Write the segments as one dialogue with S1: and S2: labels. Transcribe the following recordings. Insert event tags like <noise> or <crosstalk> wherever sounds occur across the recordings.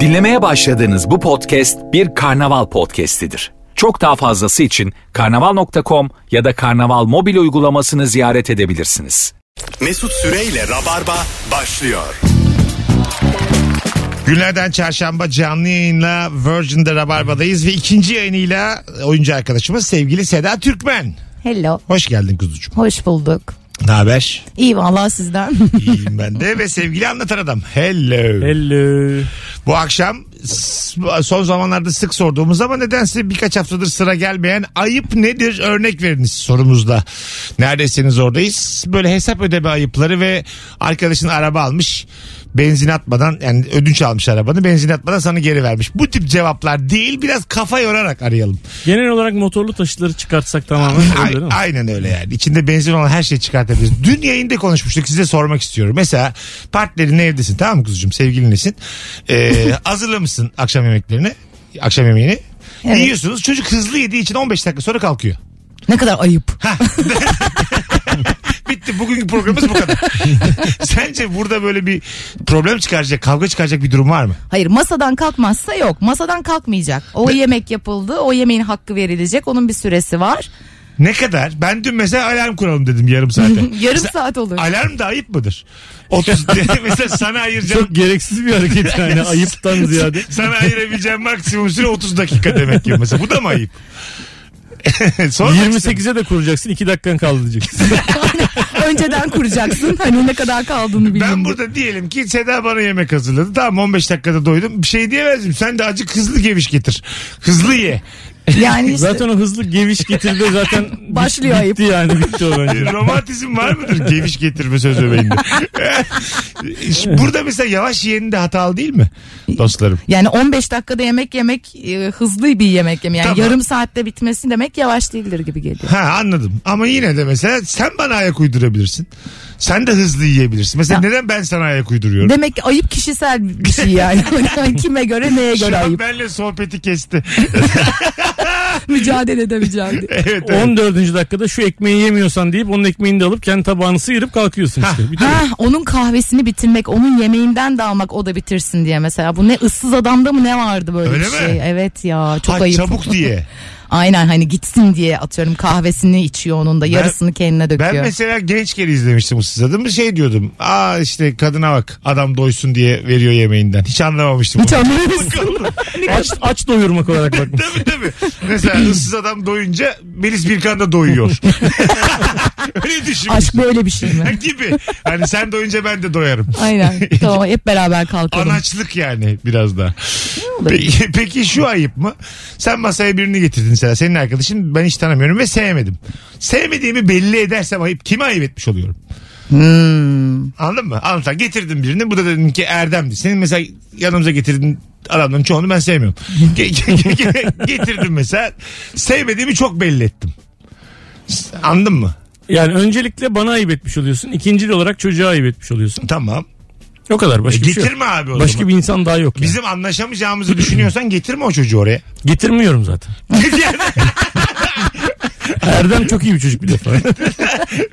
S1: Dinlemeye başladığınız bu podcast bir karnaval podcastidir. Çok daha fazlası için karnaval.com ya da karnaval mobil uygulamasını ziyaret edebilirsiniz.
S2: Mesut Süreyle Rabarba başlıyor.
S3: Günlerden çarşamba canlı yayınla Virgin'de Rabarba'dayız ve ikinci yayınıyla oyuncu arkadaşımız sevgili Seda Türkmen.
S4: Hello.
S3: Hoş geldin kuzucuğum.
S4: Hoş bulduk.
S3: Ne haber?
S4: İyi vallahi sizden. <laughs>
S3: İyiyim ben de ve sevgili anlatan adam. Hello.
S5: Hello.
S3: Bu akşam s- son zamanlarda sık sorduğumuz ama nedense birkaç haftadır sıra gelmeyen ayıp nedir örnek veriniz sorumuzda. Neredesiniz oradayız. Böyle hesap ödeme ayıpları ve arkadaşın araba almış benzin atmadan yani ödünç almış arabanı benzin atmadan sana geri vermiş. Bu tip cevaplar değil biraz kafa yorarak arayalım.
S5: Genel olarak motorlu taşıtları çıkartsak tamamen
S3: Ay-
S5: öyle değil mi?
S3: aynen öyle yani. İçinde benzin olan her şeyi çıkartabiliriz. Dün yayında konuşmuştuk size sormak istiyorum. Mesela partnerin evdesin tamam mı kuzucuğum sevgilinlesin.
S5: <laughs>
S3: Ee, hazırlamışsın akşam yemeklerini. Akşam yemeğini.
S4: Evet.
S3: Yiyorsunuz çocuk hızlı yediği için 15 dakika sonra kalkıyor.
S4: ne kadar ayıp.
S3: Bitti bugünkü programımız
S5: <laughs>
S3: bu kadar. Sence burada böyle bir problem çıkaracak kavga çıkaracak bir durum var mı?
S4: Hayır masadan kalkmazsa yok. Masadan kalkmayacak. O yemek yapıldı. O yemeğin hakkı verilecek. Onun bir süresi var.
S3: Ne kadar? Ben dün mesela alarm kuralım dedim
S5: <laughs>
S3: yarım saate.
S4: <laughs> Yarım saat olur.
S3: alarm da ayıp mıdır? 30 <laughs> mesela sana ayıracağım
S5: Çok gereksiz bir hareket yani ayıptan ziyade.
S3: Sana ayırabileceğim maksimum süre 30 dakika demek ki mesela. Bu da mı ayıp? <laughs> Sormak istedim.
S5: 28'e de kuracaksın 2 dakikan kaldı
S3: <laughs>
S5: diyeceksin.
S4: Önceden kuracaksın. Hani ne kadar kaldığını bilmiyorum.
S3: Ben burada diyelim ki Seda bana yemek hazırladı. Tamam 15 dakikada doydum. Bir şey diyemezdim. Sen de acık hızlı geviş getir. Hızlı ye.
S4: <laughs> Yani işte
S5: zaten o hızlı geviş getirdi zaten bit-
S4: Başlıyor ayıp.
S5: bitti yani bitti o bence.
S3: Romantizm var mıdır geviş getirme söz
S4: <laughs>
S3: öbeğinde? burada mesela yavaş yeğeni de hatalı değil mi dostlarım?
S4: yani 15 dakikada yemek yemek e, hızlı bir yemek yemek. Yani
S3: Tamam.
S4: yarım saatte bitmesi demek yavaş değildir gibi geliyor.
S3: Ha anladım. Ama yine de mesela sen bana ayak uydurabilirsin. Sen de hızlı yiyebilirsin. Mesela
S4: Ya.
S3: neden ben sana ayak uyduruyorum?
S4: Demek ki ayıp kişisel bir şey yani.
S3: <laughs>
S4: Yani <laughs> Kime göre neye
S3: Şu
S4: göre
S3: an
S4: ayıp.
S3: benle sohbeti kesti.
S4: Mücadele
S3: <laughs>
S4: de mücadele.
S3: evet, evet.
S5: 14. dakikada şu ekmeği yemiyorsan deyip onun ekmeğini de alıp kendi tabağını sıyırıp kalkıyorsun işte. Bitti.
S4: Ha, onun kahvesini bitirmek, onun yemeğinden de almak o da bitirsin diye mesela. Bu ne ıssız adamda mı ne vardı böyle
S3: Öyle
S4: bir
S3: mi?
S4: şey? Evet ya çok
S3: Ha,
S4: ayıp.
S3: çabuk
S4: <laughs>
S3: diye.
S4: Aynen hani gitsin diye atıyorum kahvesini içiyor onun da yarısını kendine döküyor.
S3: Ben mesela gençken izlemiştim bu siz adımı şey diyordum. Aa işte kadına bak adam doysun diye veriyor yemeğinden. Hiç
S4: <laughs>
S3: anlamamıştım.
S4: <laughs> Hiç
S3: onu. <laughs>
S4: anlamıyorsun.
S5: aç, aç doyurmak olarak bakmış.
S3: Tabii tabii. Mesela ıssız adam doyunca Melis Birkan da doyuyor. <laughs> Öyle düşünmüş.
S4: Aşk böyle bir
S3: <laughs>
S4: şey mi?
S3: gibi. Hani sen doyunca ben de doyarım.
S4: Aynen.
S3: <laughs>
S4: Tamam hep beraber kalkalım.
S3: Anaçlık yani biraz da.
S4: olabilir?
S3: Peki, <laughs> peki şu ayıp mı? Sen masaya birini getirdin Sera. Senin arkadaşın ben hiç tanımıyorum ve sevmedim. Sevmediğimi belli edersem ayıp. Kime ayıp etmiş oluyorum? Anladın mı? Anlatan getirdim birini. Bu da dedim ki Erdem'di. Senin mesela yanımıza getirdin adamların çoğunu ben sevmiyorum. Ge- ge- ge- ge- getirdim mesela. Sevmediğimi çok belli ettim. S- Anladın mı?
S5: Yani öncelikle bana ayıp etmiş oluyorsun. İkincil olarak çocuğa ayıp etmiş oluyorsun.
S3: Tamam.
S5: O kadar
S3: E,
S5: başka bir şey yok.
S3: getirme abi o
S5: Başka
S3: zaman.
S5: bir insan daha yok. yani.
S3: Bizim anlaşamayacağımızı düşünüyorsan getirme o çocuğu oraya.
S5: Getirmiyorum zaten. Erdem çok iyi bir çocuk bir defa.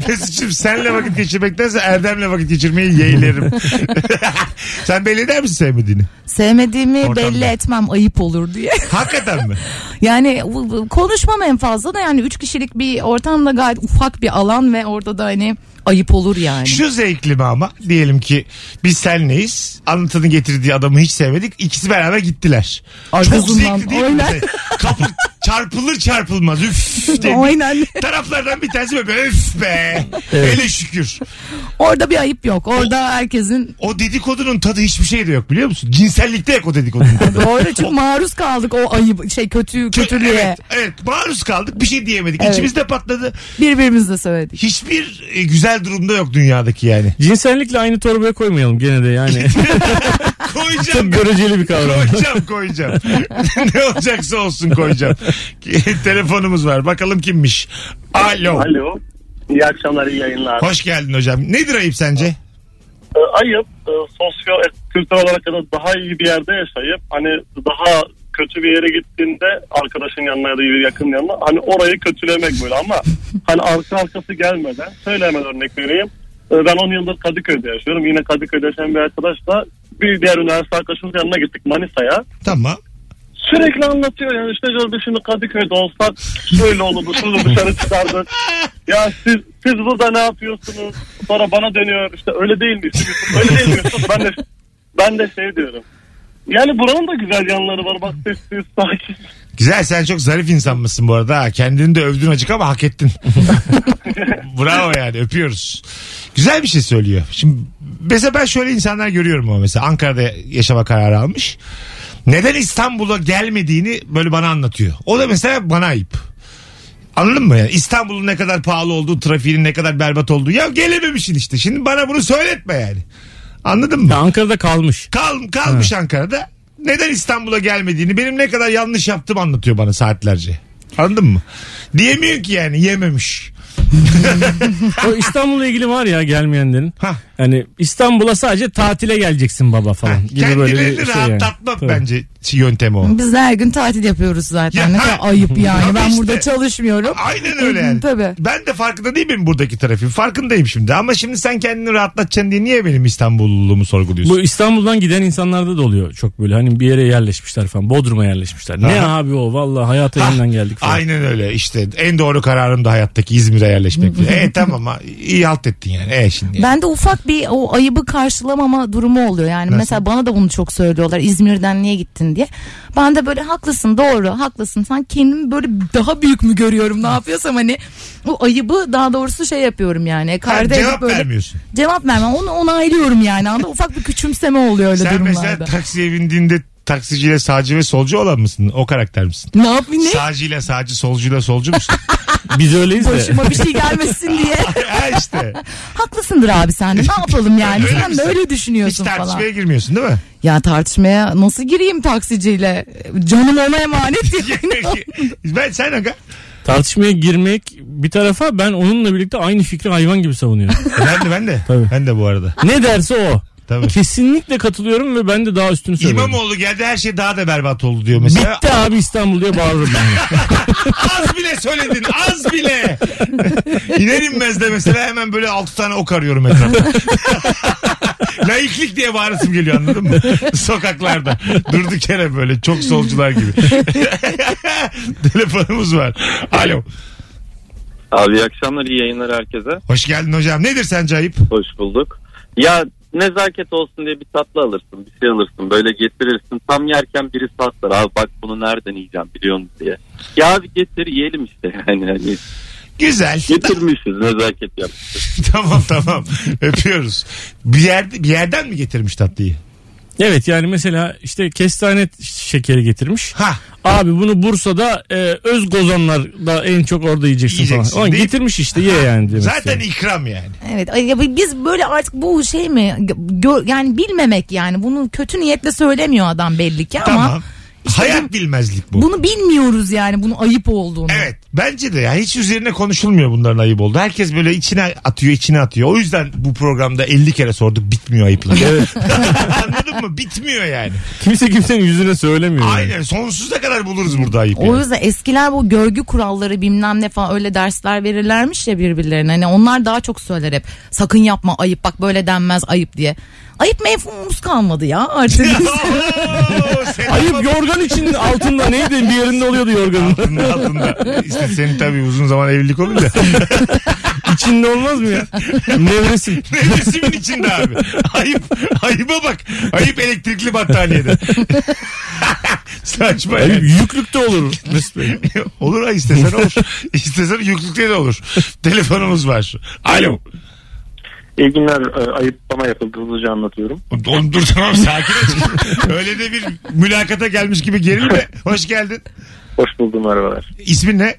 S3: Mesut'cum senle vakit geçirmektense Erdem'le vakit geçirmeyi yeğlerim. Sen belli eder misin sevmediğini?
S4: Sevmediğimi
S3: Ortamda.
S4: belli etmem ayıp olur diye. <laughs>
S3: Hakikaten mi?
S4: Yani bu- bu- konuşmam en fazla da yani üç kişilik bir ortamda gayet ufak bir alan ve orada da hani ayıp olur yani.
S3: Şu zevkli mi ama diyelim ki biz senleyiz. Anlatanı getirdiği adamı hiç sevmedik. İkisi beraber gittiler. Çok
S4: Arkasından,
S3: zevkli değil mi?
S4: aynen.
S3: Kapı çarpılır çarpılmaz.
S4: <laughs>
S3: Üf diye.
S4: Aynen.
S3: Taraflardan bir tanesi böyle öf be. Hele şükür.
S4: Orada bir ayıp yok. Orada herkesin
S3: O dedikodunun tadı hiçbir şeyde yok biliyor musun? Cinsellikte yok o dedikodunun tadı.
S4: <laughs> doğru
S3: <laughs>
S4: çünkü maruz kaldık o ayıp şey kötü kötülüğe.
S3: Evet, evet maruz kaldık bir şey diyemedik.
S4: Evet.
S3: İçimizde patladı.
S4: Birbirimizle söyledik.
S3: hiçbir e, güzel durumda yok dünyadaki yani.
S5: Cinsellikle aynı torbaya koymayalım gene de
S3: <laughs>
S5: yani.
S3: Koyacağım.
S5: Çok göreceli bir kavram.
S3: koyacağım koyacağım. <laughs> ne olacaksa olsun koyacağım. Telefonumuz var. Bakalım kimmiş. Alo.
S6: Alo. İyi akşamlar, iyi yayınlar.
S3: Hoş geldin hocam. Nedir ayıp sence?
S6: Ee, ayıp, e, sosyo kültürel olarak ya da daha iyi bir yerde yaşayıp hani daha kötü bir yere gittiğinde arkadaşın yanına ya da yakın yanına hani orayı kötülemek böyle ama hani arka arkası gelmeden şöyle hemen örnek vereyim. Ee, Ben 10 yıldır Kadıköy'de yaşıyorum. Yine Kadıköy'de yaşayan bir arkadaşla bir diğer üniversite arkadaşımızın yanına gittik Manisa'ya.
S3: Tamam.
S6: Sürekli anlatıyor yani işte diyor biz şimdi Kadıköy'de olsak şöyle olurdu şunu dışarı çıkardık. Ya siz siz burada ne yapıyorsunuz? Sonra bana dönüyor işte öyle değil mi? Yusuf? Öyle değil mi? Yusuf? Ben de, ben de şey diyorum. Yani buranın da güzel yanları var. Bak sessiz, sakin.
S3: Güzel sen çok zarif insan mısın bu arada. ha. Kendini de övdün acık ama hak ettin. Bravo yani öpüyoruz. Güzel bir şey söylüyor. Şimdi mesela ben şöyle insanlar görüyorum ama mesela Ankara'da yaşama kararı almış. Neden İstanbul'a gelmediğini böyle bana anlatıyor. O da mesela bana ayıp. Anladın mı? Yani İstanbul'un ne kadar pahalı olduğu, trafiğinin ne kadar berbat olduğu. Ya gelememişsin işte. Şimdi bana bunu söyletme yani. Anladın mı?
S5: Ya Ankara'da kalmış.
S3: Kal, kalmış Ankara'da. Neden İstanbul'a gelmediğini benim ne kadar yanlış yaptığımı anlatıyor bana saatlerce. Anladın mı? Diyemiyor ki yani yememiş.
S5: O İstanbul'la ilgili var ya gelmeyenlerin.
S3: Hah.
S5: Yani İstanbul'a sadece tatile geleceksin baba falan gibi böyle
S3: Kendilerini
S5: bir şey yani.
S3: rahatlatmak
S5: Tabii.
S3: bence yöntemi o.
S4: Biz de her gün tatil yapıyoruz zaten.
S3: Ya,
S4: ne
S3: ha.
S4: kadar ayıp yani.
S3: Ama
S4: Ben
S3: işte.
S4: burada çalışmıyorum.
S3: Aynen öyle yani.
S4: Tabii.
S3: Ben de farkında değilim buradaki trafiğin. Farkındayım şimdi. Ama şimdi sen kendini rahatlatacaksın diye niye benim İstanbulluluğumu sorguluyorsun?
S5: Bu İstanbul'dan giden insanlarda da oluyor çok böyle. Hani bir yere yerleşmişler falan. Bodrum'a yerleşmişler. Ne
S3: Aha.
S5: abi o vallahi hayata yeniden geldik falan.
S3: Aynen öyle işte en doğru kararım da hayattaki İzmir'e yerleşmek. e tamam ha iyi halt ettin yani. E şimdi.
S4: Ben de ufak bir o ayıbı karşılamama durumu oluyor. Yani mesela bana da bunu çok söylüyorlar. İzmir'den niye gittin diye. Ben de böyle haklısın doğru haklısın. Sen kendimi böyle daha büyük mü görüyorum ne yapıyorsam hani. O ayıbı daha doğrusu şey yapıyorum yani.
S3: Ha,
S4: Karda edip
S3: cevap
S4: böyle
S3: vermiyorsun.
S4: cevap vermem. Onu onaylıyorum yani. Anda ufak bir küçümseme oluyor öyle
S3: Sen
S4: durumlarda.
S3: mesela taksiye bindiğinde taksiciyle sağcı ve solcu olan mısın? O karakter misin?
S4: Ne yapayım ne?
S3: Sağcıyla sağcı, solcuyla solcu
S4: <laughs>
S3: musun? E,
S5: Biz öyleyiz de.
S4: Başıma bir şey gelmesin
S3: <laughs>
S4: diye.
S3: ha işte.
S4: Haklısındır abi sen de. Ne yapalım yani?
S3: Öyle
S4: sen de
S3: misin?
S4: öyle
S3: Hiç
S4: düşünüyorsun
S3: tartışmaya
S4: falan.
S3: girmiyorsun değil mi?
S4: Ya tartışmaya nasıl gireyim taksiciyle? Canım ona emanet
S3: <laughs>
S4: yani.
S3: ben sen aga.
S5: Tartışmaya girmek bir tarafa ben onunla birlikte aynı fikri hayvan gibi
S3: <laughs>
S5: savunuyorum.
S3: E, Ben de ben de.
S5: Tabii.
S3: Ben de bu arada.
S5: ne derse o.
S3: Tabii.
S5: Kesinlikle katılıyorum ve ben de daha üstünü söylüyorum.
S3: İmamoğlu geldi her şey daha da berbat oldu diyor mesela.
S5: Bitti abi İstanbul diye bağırırım ben.
S3: Az bile söyledin az bile. İner inmez de mesela hemen böyle altı tane ok arıyorum etrafta. <laughs> Laiklik diye bağırasım geliyor anladın mı? Sokaklarda. Durduk yere böyle çok solcular gibi. <laughs> Telefonumuz var. Alo.
S7: Abi iyi akşamlar iyi yayınlar herkese.
S3: Hoş geldin hocam. Nedir sence ayıp?
S7: Hoş bulduk. Ya nezaket olsun diye bir tatlı alırsın bir şey alırsın böyle getirirsin tam yerken biri satlar abi bak bunu nereden yiyeceğim biliyor musun diye. Ya abi getir yiyelim işte yani hani
S3: Güzel.
S7: getirmişiz nezaket yap.
S3: <laughs> tamam tamam. Öpüyoruz. Bir, yer, bir yerden mi getirmiş tatlıyı?
S5: <laughs> evet yani mesela işte kestane şekeri getirmiş.
S3: Ha.
S5: Abi bunu Bursa'da e, öz gozanlarda en çok orada yiyeceksin,
S3: Yiyeceksin
S5: falan. Ulan
S3: deyip-
S5: getirmiş işte ye yani demek
S3: Zaten
S5: istiyorum.
S3: ikram yani.
S4: evet ay ya biz böyle artık bu şey mi Gö- yani bilmemek yani bunu kötü niyetle söylemiyor adam belli ki ama
S3: Tamam. Hayat
S4: bu-
S3: bilmezlik bu.
S4: bunu bilmiyoruz yani bunu ayıp olduğunu.
S3: Evet bence de ya hiç üzerine konuşulmuyor bunların ayıp oldu. Herkes böyle içine atıyor içine atıyor. O yüzden bu programda 50 kere sorduk bitmiyor ayıplar. <laughs> Anladın mı? Bitmiyor yani.
S5: Kimse kimsenin yüzüne söylemiyor. yani.
S3: Aynen sonsuza kadar buluruz burada ayıp.
S4: O
S3: yani.
S4: yüzden eskiler bu görgü kuralları bilmem ne falan öyle dersler verirlermiş ya birbirlerine. Hani onlar daha çok söyler hep. Sakın yapma ayıp bak böyle denmez ayıp diye. Ayıp mefhumumuz kalmadı ya
S3: <laughs>
S4: artık.
S3: Oo, senin
S5: Ayıp yorgan için altında neydi bir yerinde oluyordu yorganın.
S3: altında, altında. İşte senin tabii uzun zaman evlilik olunca.
S5: İçinde olmaz mı <laughs> ya? Nevresim.
S3: Nefesimin içinde abi. Ayıp. Ayıba bak. Ayıp elektrikli battaniyede. Saçma
S5: Ayıp
S3: yani.
S5: yüklükte olur. <laughs>
S3: <clears throat> olur ha istesen olur. İstesen yüklükte de olur. Telefonumuz var. Alo.
S7: İyi günler e, ayıplama yapıldı hızlıca anlatıyorum.
S3: Oğlum dur tamam sakin ol. Öyle de bir mülakata gelmiş gibi gerilme. Hoş geldin.
S7: Hoş buldum merhabalar.
S3: İsmin ne?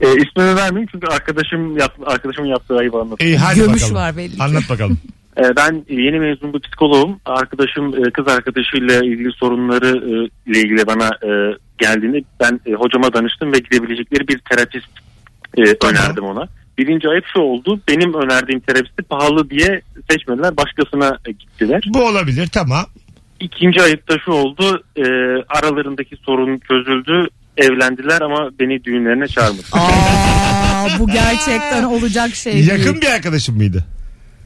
S7: E, ismini vermeyeyim çünkü arkadaşım yap, arkadaşımın yaptığı ayıbı anlatıyor.
S3: İyi hadi
S4: Gömüş
S3: bakalım.
S4: var belli ki.
S3: Anlat bakalım.
S7: Ee, Ben yeni mezun bir psikoloğum. Arkadaşım e, kız arkadaşıyla ilgili sorunları e, ile ilgili bana e, geldiğini ben e, hocama danıştım ve gidebilecekleri bir terapist e,
S3: Tamam.
S7: önerdim ona. Birinci ayıp şu oldu. Benim önerdiğim terapisti pahalı diye seçmediler. Başkasına e, gittiler.
S3: Bu olabilir tamam.
S7: İkinci ayıp da şu oldu. e, Aralarındaki sorun çözüldü. Evlendiler ama beni düğünlerine çağırmadı.
S4: Aa, bu gerçekten olacak şey değil.
S3: Yakın bir arkadaşım mıydı?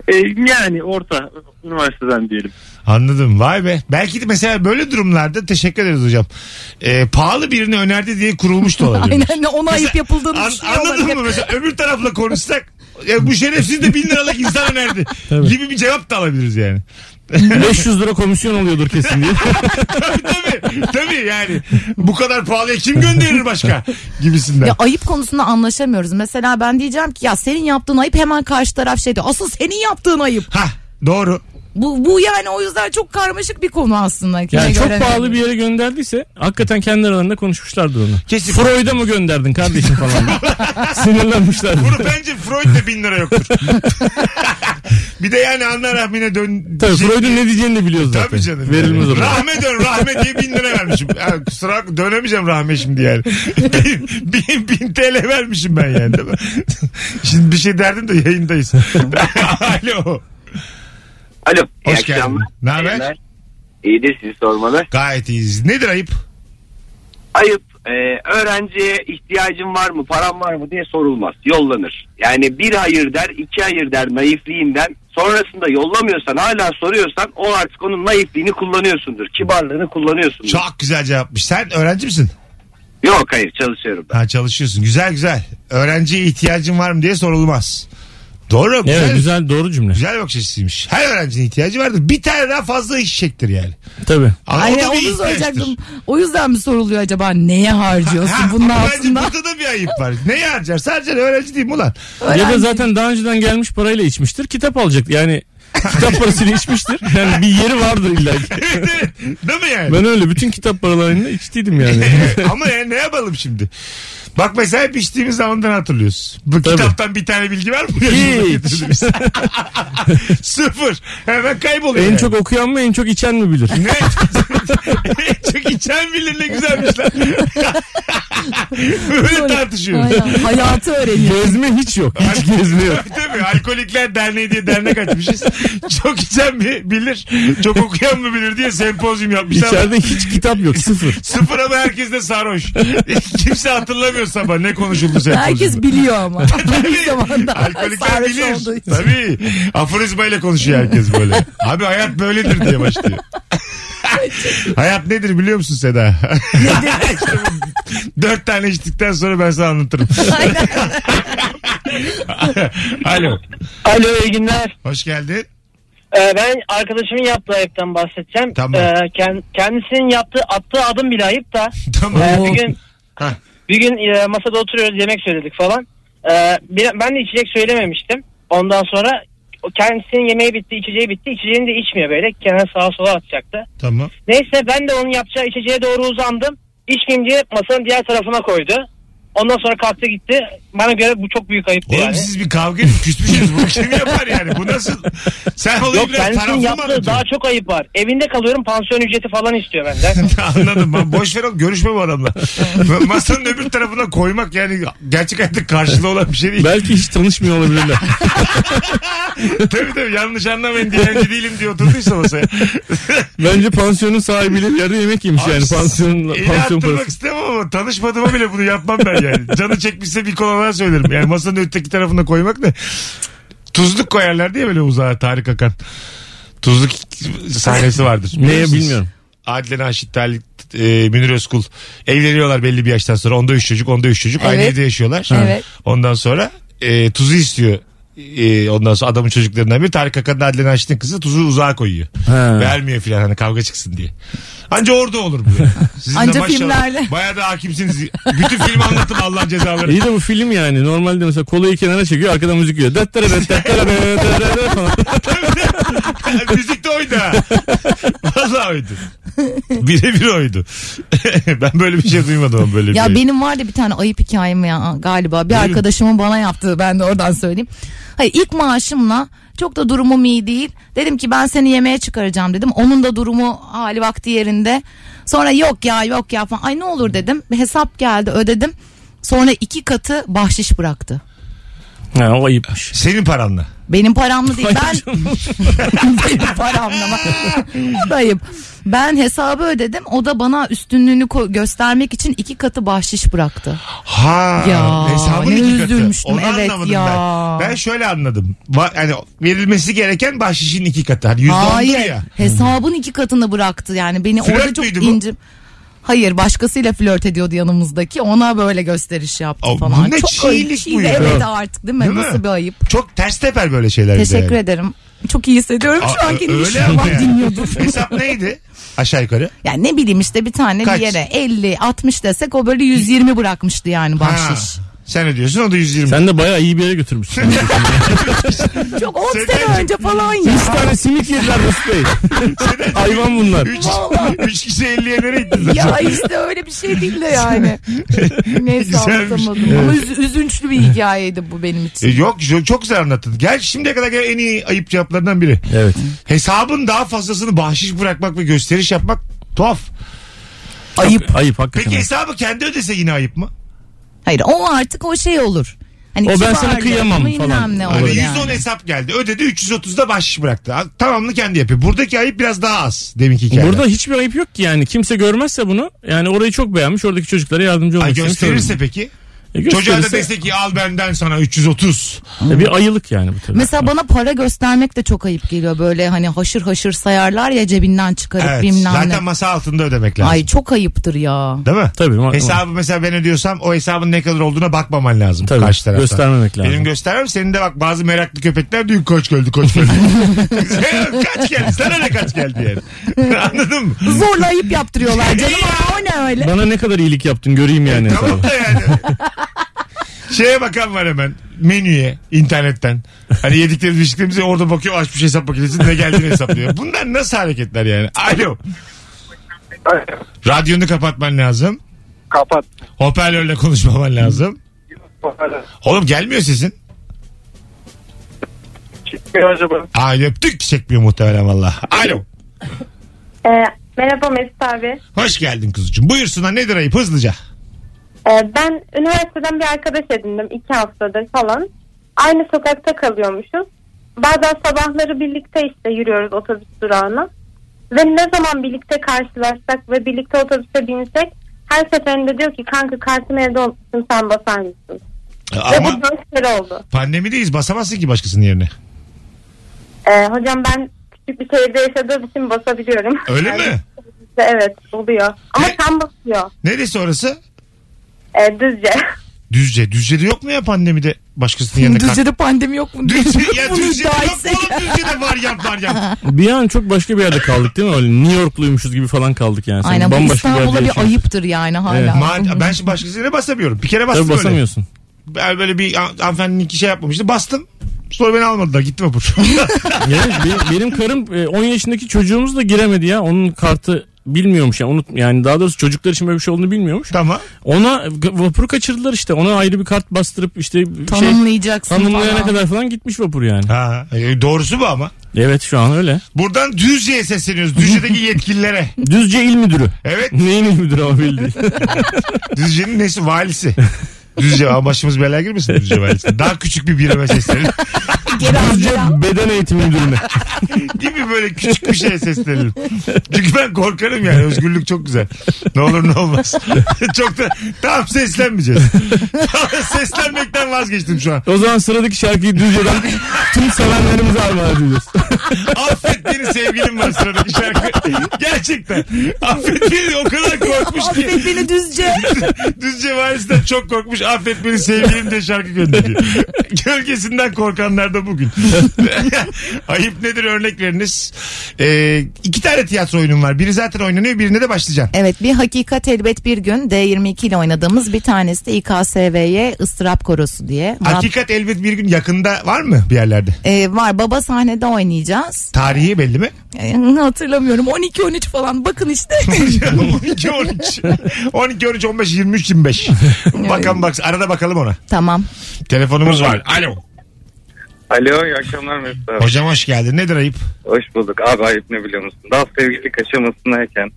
S7: E, yani orta üniversiteden diyelim.
S3: Anladım. Vay be. Belki de mesela böyle durumlarda teşekkür ederiz hocam. Ee, pahalı birini önerdi diye kurulmuş da olabilir.
S4: <laughs> Aynen ona ayıp yapıldığını
S3: An-
S4: düşünüyorlar.
S3: anladın mı? Mesela öbür tarafla konuşsak ya bu şerefsiz de bin liralık
S5: <laughs>
S3: insan önerdi gibi bir cevap da alabiliriz yani.
S5: 500 lira komisyon oluyordur kesin diye.
S3: tabii, tabii yani bu kadar pahalıya kim gönderir başka gibisinden.
S4: Ya ayıp konusunda anlaşamıyoruz. Mesela ben diyeceğim ki ya senin yaptığın ayıp hemen karşı taraf şey diyor. Asıl senin yaptığın ayıp.
S3: Ha doğru.
S4: Bu, bu yani o yüzden çok karmaşık bir konu aslında. Kime
S5: Yani çok
S4: göre-
S5: pahalı bir yere gönderdiyse hakikaten kendi aralarında konuşmuşlardır onu.
S3: Kesin.
S5: Freud'a mı gönderdin kardeşim falan.
S3: <laughs>
S5: diye. Sinirlenmişlerdir.
S3: Bunu bence Freud de bin lira
S4: <laughs>
S3: yoktur. bir de yani anla rahmine dön.
S5: Tabii
S3: şey-
S5: Freud'un ne diyeceğini de biliyoruz zaten.
S3: Tabii canım.
S5: Verilmez o zaman.
S3: Rahme dön rahme diye bin lira vermişim. Ya, kusura bakma, dönemeyeceğim rahme
S5: <laughs>
S3: şimdi yani. bin, bin, bin TL vermişim ben yani değil mi? şimdi bir şey derdim de yayındayız. <laughs> Alo.
S7: Alo. iyi
S3: Hoş geldin.
S7: akşamlar.
S3: Ne haber?
S7: Yayınlar. İyidir sizi sormalı.
S3: Gayet iyiyiz. Nedir ayıp?
S7: Ayıp. e, öğrenciye ihtiyacın var mı, param var mı diye sorulmaz. Yollanır. Yani bir hayır der, iki hayır der naifliğinden. Sonrasında yollamıyorsan, hala soruyorsan o artık onun naifliğini kullanıyorsundur. Kibarlığını kullanıyorsundur.
S3: Çok güzel cevapmış. Sen öğrenci misin?
S7: Yok hayır çalışıyorum ben.
S3: Ha çalışıyorsun. Güzel güzel. Öğrenciye ihtiyacın var mı diye sorulmaz. Doğru. Güzel.
S5: Evet
S3: güzel.
S5: güzel doğru cümle.
S3: bakış açısıymış. Her öğrencinin ihtiyacı vardır. Bir tane daha fazla işecektir yani.
S5: Tabii.
S3: Ama o
S4: Aynen
S3: da bir
S4: onu
S3: ihtiyaçtır.
S4: soracaktım. O yüzden mi soruluyor acaba neye harcıyorsun bunun
S3: ama bence
S4: altında?
S3: burada da bir ayıp var. Neyi harcar? Sadece öğrenci değil
S5: <laughs>
S3: mi ulan?
S5: Ya da zaten daha önceden gelmiş parayla içmiştir. Kitap alacak. Yani kitap parasıyla içmiştir. Yani bir yeri vardır illa
S3: <laughs>
S5: ki.
S3: Evet, evet. değil mi yani?
S5: Ben öyle bütün kitap paralarını içtiydim yani.
S3: <laughs> ama yani ne yapalım şimdi? Bak mesela hep içtiğimiz zamandan hatırlıyoruz. Bu
S5: Tabii.
S3: kitaptan bir tane bilgi var mı? <laughs>
S5: Hiç.
S3: Sıfır. Hemen kayboluyor.
S5: en
S3: yani. <laughs>
S5: çok okuyan mı en çok içen mi bilir?
S3: Ne? Çok içen bilir ne güzelmiş lan. <laughs> Böyle tartışıyoruz.
S4: Aynen. Hayatı öğreniyor.
S5: Gezme hiç yok. Hiç gezme yok.
S3: <laughs> Tabii tabii. Alkolikler Derneği diye dernek açmışız. Çok içen mi bilir, çok okuyan mı bilir diye sempozyum yapmışlar.
S5: İçeride hiç kitap yok. Sıfır.
S3: Sıfır ama herkes de sarhoş. Kimse hatırlamıyor sabah ne konuşuldu sempozyumda.
S4: Herkes biliyor
S3: <laughs>
S4: ama. <laughs> Bir zamanda.
S3: Şey- Alkolikler
S4: sarhoş olduğu
S3: bilir.
S4: için.
S3: Tabii. Aforizmayla konuşuyor herkes böyle. Abi hayat böyledir diye
S4: <laughs>
S3: başlıyor. hayat nedir biliyor musun Seda? İşte bu <laughs> Dört tane içtikten sonra ben sana anlatırım. <laughs> Alo.
S8: Alo iyi günler.
S3: Hoş geldin. <laughs>
S8: Ee, ben arkadaşımın yaptığı ayıptan bahsedeceğim.
S3: Tamam.
S8: Ee, kend- kendisinin yaptığı attığı adım bile ayıp
S3: <laughs>
S8: da.
S3: Tamam.
S8: Ee, bir gün
S3: Hah.
S8: bir gün e, masada oturuyoruz yemek söyledik falan. Ee, bir- ben de içecek söylememiştim. Ondan sonra o kendisinin yemeği bitti, içeceği bitti. İçeceğini de içmiyor böyle. Kenara sağa sola atacaktı.
S3: Tamam.
S8: Neyse ben de onun yapacağı içeceğe doğru uzandım. İçmeyeyim diye masanın diğer tarafına koydu. Ondan sonra kalktı gitti. Bana göre bu çok büyük ayıptı
S3: Oğlum
S8: yani.
S3: siz bir kavga edip küsmüşsünüz. Bunu kim yapar yani? Bu nasıl? Sen olayı
S8: Yok
S3: biraz
S8: kendisinin
S3: taraflı mı
S8: yaptığı daha
S3: anlatıyorsun?
S8: çok ayıp var. Evinde kalıyorum pansiyon ücreti falan istiyor benden.
S3: <laughs> <laughs> Anladım. Ben boş ver oğlum, görüşme bu adamla. Masanın öbür tarafına koymak yani gerçek hayatta karşılığı olan bir şey değil.
S5: Belki hiç tanışmıyor olabilirler.
S3: tabii tabii yanlış anlamayın dilenci değilim diye oturduysa masaya.
S5: Bence pansiyonun sahibiyle bir yerde yemek yemiş yani
S3: Eli
S5: pansiyonun pansiyon
S3: attırmak
S5: parası.
S3: istemem ama tanışmadığıma bile bunu yapmam ben yani.
S5: <laughs>
S3: Canı çekmişse bir kola daha söylerim. Yani masanın öteki tarafına koymak ne? Tuzluk koyarlar diye böyle uzağa Tarık Akan. Tuzluk sahnesi vardır. Biliyor
S5: Neye
S3: musunuz?
S5: bilmiyorum.
S3: Adile Naşit Talik, e, Münir Özkul evleniyorlar belli bir yaştan sonra. Onda üç çocuk, onda üç çocuk. Aynı
S4: Evet.
S3: evde yaşıyorlar.
S4: Evet.
S3: Ondan sonra e, tuzu istiyor. E, ondan sonra adamın çocuklarından biri Tarık Akan'ın Adile Naşit'in kızı tuzu uzağa koyuyor.
S5: Ha.
S3: Vermiyor filan hani kavga çıksın diye. Anca orada olur bu.
S4: <laughs>
S3: yani. Sizin
S4: Anca
S3: maşallah
S4: filmlerle.
S3: Bayağı da hakimsiniz. Bütün filmi anlattım Allah'ın cezaları.
S5: İyi de bu film yani. Normalde mesela kolayı kenara çekiyor arkadan müzik yiyor. Dat tere dat, dat tere dat, dat tere dat falan.
S3: <laughs> Müzik de oydu ha. Valla oydu. Birebir oydu. <laughs> ben böyle bir şey duymadım ama böyle bir
S4: Ya
S3: şey.
S4: benim var da bir tane ayıp hikayem ya galiba. Bir
S3: Buyurun.
S4: arkadaşımın bana yaptığı ben de oradan söyleyeyim. Hayır ilk maaşımla çok da durumum iyi değil. Dedim ki ben seni yemeğe çıkaracağım dedim. Onun da durumu hali vakti yerinde. Sonra yok ya yok ya falan. Ay ne olur dedim. Hesap geldi ödedim. Sonra iki katı bahşiş bıraktı.
S5: Ha o ayıpmış.
S3: Senin paranla.
S4: Benim paramla değil. <laughs> Ben benim paramla. bak. Dayım. Ben hesabı ödedim. O da bana üstünlüğünü ko- göstermek için iki katı bahşiş bıraktı.
S3: Ha,
S4: Ya,
S3: hesabın
S4: ne
S3: iki katı.
S4: üzülmüştüm,
S3: Onu
S4: evet
S3: anlamadım
S4: ya.
S3: ben. Ben şöyle anladım. Va- yani verilmesi gereken bahşişin iki katı. Hani yüzde ondur
S4: Hayır.
S3: ya.
S4: Hesabın iki katını bıraktı yani. Beni
S3: Flört
S4: orada çok
S3: müydü bu?
S4: incim. Hayır başkasıyla flört ediyordu yanımızdaki. Ona böyle gösteriş yaptı
S3: Aa, bu
S4: falan.
S3: ne
S4: çok ayıp
S3: çiğlik bu
S4: şeydi.
S3: ya.
S4: Evet artık değil mi?
S3: Değil mi?
S4: Nasıl bir ayıp.
S3: Çok ters teper böyle şeyler. bir de
S4: Teşekkür
S3: yani.
S4: ederim. Çok iyi hissediyorum şu
S3: Aa,
S4: an kendimi.
S3: Öyle
S4: Öyle
S3: ama yani.
S4: <laughs> dinliyordum.
S3: Hesap neydi? Aşağı yukarı.
S4: Yani ne bileyim işte bir tane
S3: Kaç?
S4: bir yere 50 60 desek o böyle 120 bırakmıştı yani bahşiş.
S3: Ha, Sen ödüyorsun o da
S5: <laughs>
S3: 120.
S5: Sen de bayağı iyi bir yere götürmüşsün.
S4: Çok 10 sene
S3: Sedacığım.
S4: önce
S3: <laughs>
S4: falan ya.
S5: Üç tane simit yediler Mesut Bey. Hayvan bunlar.
S3: 3 <laughs> üç kişi 50'ye nereye gittin zaten?
S4: ya işte öyle bir şey değil de yani.
S3: <laughs>
S4: Neyse
S3: Güzelmiş.
S4: anlatamadım. Ama üz- üzünçlü bir hikayeydi bu benim
S3: E,
S4: için.
S3: yok çok, çok güzel anlattın. Gel şimdiye kadar gelen en iyi ayıp cevaplarından biri.
S5: Evet.
S3: Hesabın daha fazlasını bahşiş bırakmak ve gösteriş yapmak tuhaf.
S5: Ayıp. Ayıp hakikaten.
S3: Peki hesabı kendi ödese yine ayıp mı?
S4: Hayır o artık o şey olur. Hani
S5: O ben sana
S4: kibarlık,
S5: kıyamam
S4: bilmem
S5: falan.
S4: Ne
S3: Hani
S4: olur
S3: 110
S4: yani.
S3: hesap geldi. Ödedi 330'da bahşiş bıraktı. Ha, Tamamını kendi yapıyor. Buradaki ayıp biraz daha az. Deminki hikayeden.
S5: Burada hiçbir ayıp yok ki yani. Kimse görmezse bunu yani orayı çok beğenmiş. Oradaki çocuklara yardımcı
S3: <laughs>
S5: olmak
S3: Ay
S5: istemiş.
S3: gösterirse peki?
S5: E,
S3: Çocuğa da
S5: gösterirse-
S3: dese ki al benden sana 330.
S5: E, bir ayılık yani bu tabii.
S4: Mesela bana para göstermek de çok ayıp geliyor. Böyle hani haşır haşır sayarlar ya cebinden çıkarıp
S3: Evet.
S4: bilmem
S3: Zaten
S4: ne.
S3: masa altında ödemek lazım.
S4: Ay çok ayıptır ya.
S3: Değil mi?
S5: Tabii. ma-
S3: Hesabı mesela ben ödüyorsam o hesabın ne kadar olduğuna bakmaman lazım
S5: Tabii,
S3: karşı taraftan.
S5: göstermemek lazım.
S3: Benim göstermem senin de bak bazı meraklı köpekler diyor koç öldü koç <laughs> öldü. kaç geldi sana ne kaç geldi yani. <laughs> Anladın mı?
S4: Zorla
S3: <laughs>
S4: ayıp yaptırıyorlar canım. Aa, o ne öyle?
S5: Bana ne kadar iyilik yaptın göreyim yani
S3: E, Tamam
S5: hesabı.
S3: da yani. Şeye bakan var hemen menüye internetten. Hani yediklerimiz içtiklerimizi orada bakıyor açmış hesap makinesinde ne geldiğini hesaplıyor. Bunlar nasıl hareketler yani? Alo. Radyonu kapatman lazım.
S6: Kapat.
S3: Hoparlörle konuşmaman lazım. Oğlum gelmiyor sesin.
S6: Çıkmıyor acaba?
S3: Aa öptük çekmiyor muhtemelen valla. Alo.
S9: Ee, merhaba Mesut abi.
S3: Hoş geldin kuzucuğum. Buyursunlar nedir ayıp hızlıca.
S9: Ee, ben üniversiteden bir arkadaş edindim. iki haftadır falan. Aynı sokakta kalıyormuşuz. Bazen sabahları birlikte işte yürüyoruz otobüs durağına. Ve ne zaman birlikte karşılaşsak ve birlikte otobüse binsek her seferinde diyor ki kanka kartımı evde unutmuşsun sen basar mısın? Ve
S3: Ama
S9: bu dört kere oldu.
S3: pandemideyiz basamazsın ki başkasının yerine.
S9: Ee, hocam ben küçük bir şehirde yaşadığım için basabiliyorum.
S3: Öyle
S9: Yani
S3: mi?
S9: otobüste Evet oluyor. Ama
S3: Ne?
S9: tam basıyor.
S3: Neresi orası?
S9: Ee, düzce.
S3: Düzce. Düzce'de yok mu ya pandemide başkasının yerine kalk-
S4: Düzce'de pandemi yok mu?
S3: Düzce, ya
S4: Bunu
S3: Düzce'de
S4: iddia
S3: yok mu
S4: etsek.
S3: oğlum Düzce'de var yap var
S4: <laughs>
S3: yap.
S5: bir an çok başka bir yerde kaldık değil mi? Öyle New Yorkluymuşuz gibi falan kaldık yani. Sanki
S4: Aynen bu
S5: bambaşka
S4: İstanbul'a
S5: yerde
S4: bir
S5: yaşıyormuşuz.
S4: ayıptır yani
S5: Evet.
S4: hala.
S3: Ma- ben şimdi başkasının yerine basamıyorum. Bir kere bastım
S5: Tabii
S3: öyle.
S5: basamıyorsun.
S3: Ben böyle bir han- hanımefendinin iki şey yapmamıştı. Bastım. Sonra beni almadılar. Gitti vapur.
S5: Yani be- benim karım e, 10 yaşındaki çocuğumuz da giremedi ya. Onun kartı bilmiyormuş ya. unut yani daha doğrusu çocuklar için böyle bir şey olduğunu bilmiyormuş.
S3: <laughs> tamam.
S5: Ona vapuru kaçırdılar işte. Ona ayrı bir kart bastırıp işte şey
S4: Tanımlayacaksın
S5: tanımlayana
S4: falan.
S5: kadar falan gitmiş vapur yani.
S3: Ha, e, doğrusu bu ama.
S5: Evet şu an öyle.
S3: Buradan Düzce'ye sesleniyoruz. Düzce'deki yetkililere.
S5: Düzce il
S4: <laughs>
S5: müdürü.
S3: Evet.
S5: Neyin il müdürü ama belli değil.
S3: Düzce'nin nesi? Valisi. Düzce ama başımız belaya girmesin Düzce valisi. Daha küçük bir birime seslenelim.
S4: Geri al,
S5: Düzce
S4: geri al.
S5: beden eğitimi müdürüne.
S3: Değil mi böyle küçük bir şeye seslenelim. Çünkü ben korkarım yani özgürlük çok güzel. Ne olur ne olmaz. <laughs> çok da tam seslenmeyeceğiz. Seslenmekten vazgeçtim şu an.
S5: O zaman sıradaki şarkıyı
S4: <laughs>
S5: Düzce'den tüm sevenlerimize armağan ediyoruz.
S3: Affet beni sevgilim var sıradaki şarkı. Gerçekten. Affet beni o kadar korkmuş ki.
S4: Affet
S3: <laughs>
S4: beni düzce.
S3: Düzce valisinden çok korkmuş. Affet beni sevgilim diye şarkı gönderiyor. Gölgesinden korkanlar da bugün. <laughs> Ayıp nedir örnek veriniz. Ee, iki tane tiyatro oyunum var. Biri zaten oynanıyor birine de başlayacağım.
S4: Evet bir hakikat elbet bir gün D22 ile oynadığımız bir tanesi de İKSV'ye ıstırap korosu diye. Murat-
S3: Hakikat elbet bir gün yakında var mı bir yerlerde?
S4: Ee, var baba sahnede oynayacağız.
S3: Tarihi belli mi? <laughs>
S4: Ee, <laughs> hatırlamıyorum 12-13 falan bakın işte.
S3: 12, 13. 12, 13, 15, 23, 25. Bakan bak, arada bakalım ona.
S4: tamam.
S3: Telefonumuz var. Alo.
S7: Alo iyi akşamlar Mesut abi.
S3: Hocam hoş geldin. Nedir ayıp?
S7: Hoş bulduk. Abi ayıp ne biliyor musun? Daha sevgililik aşamasındayken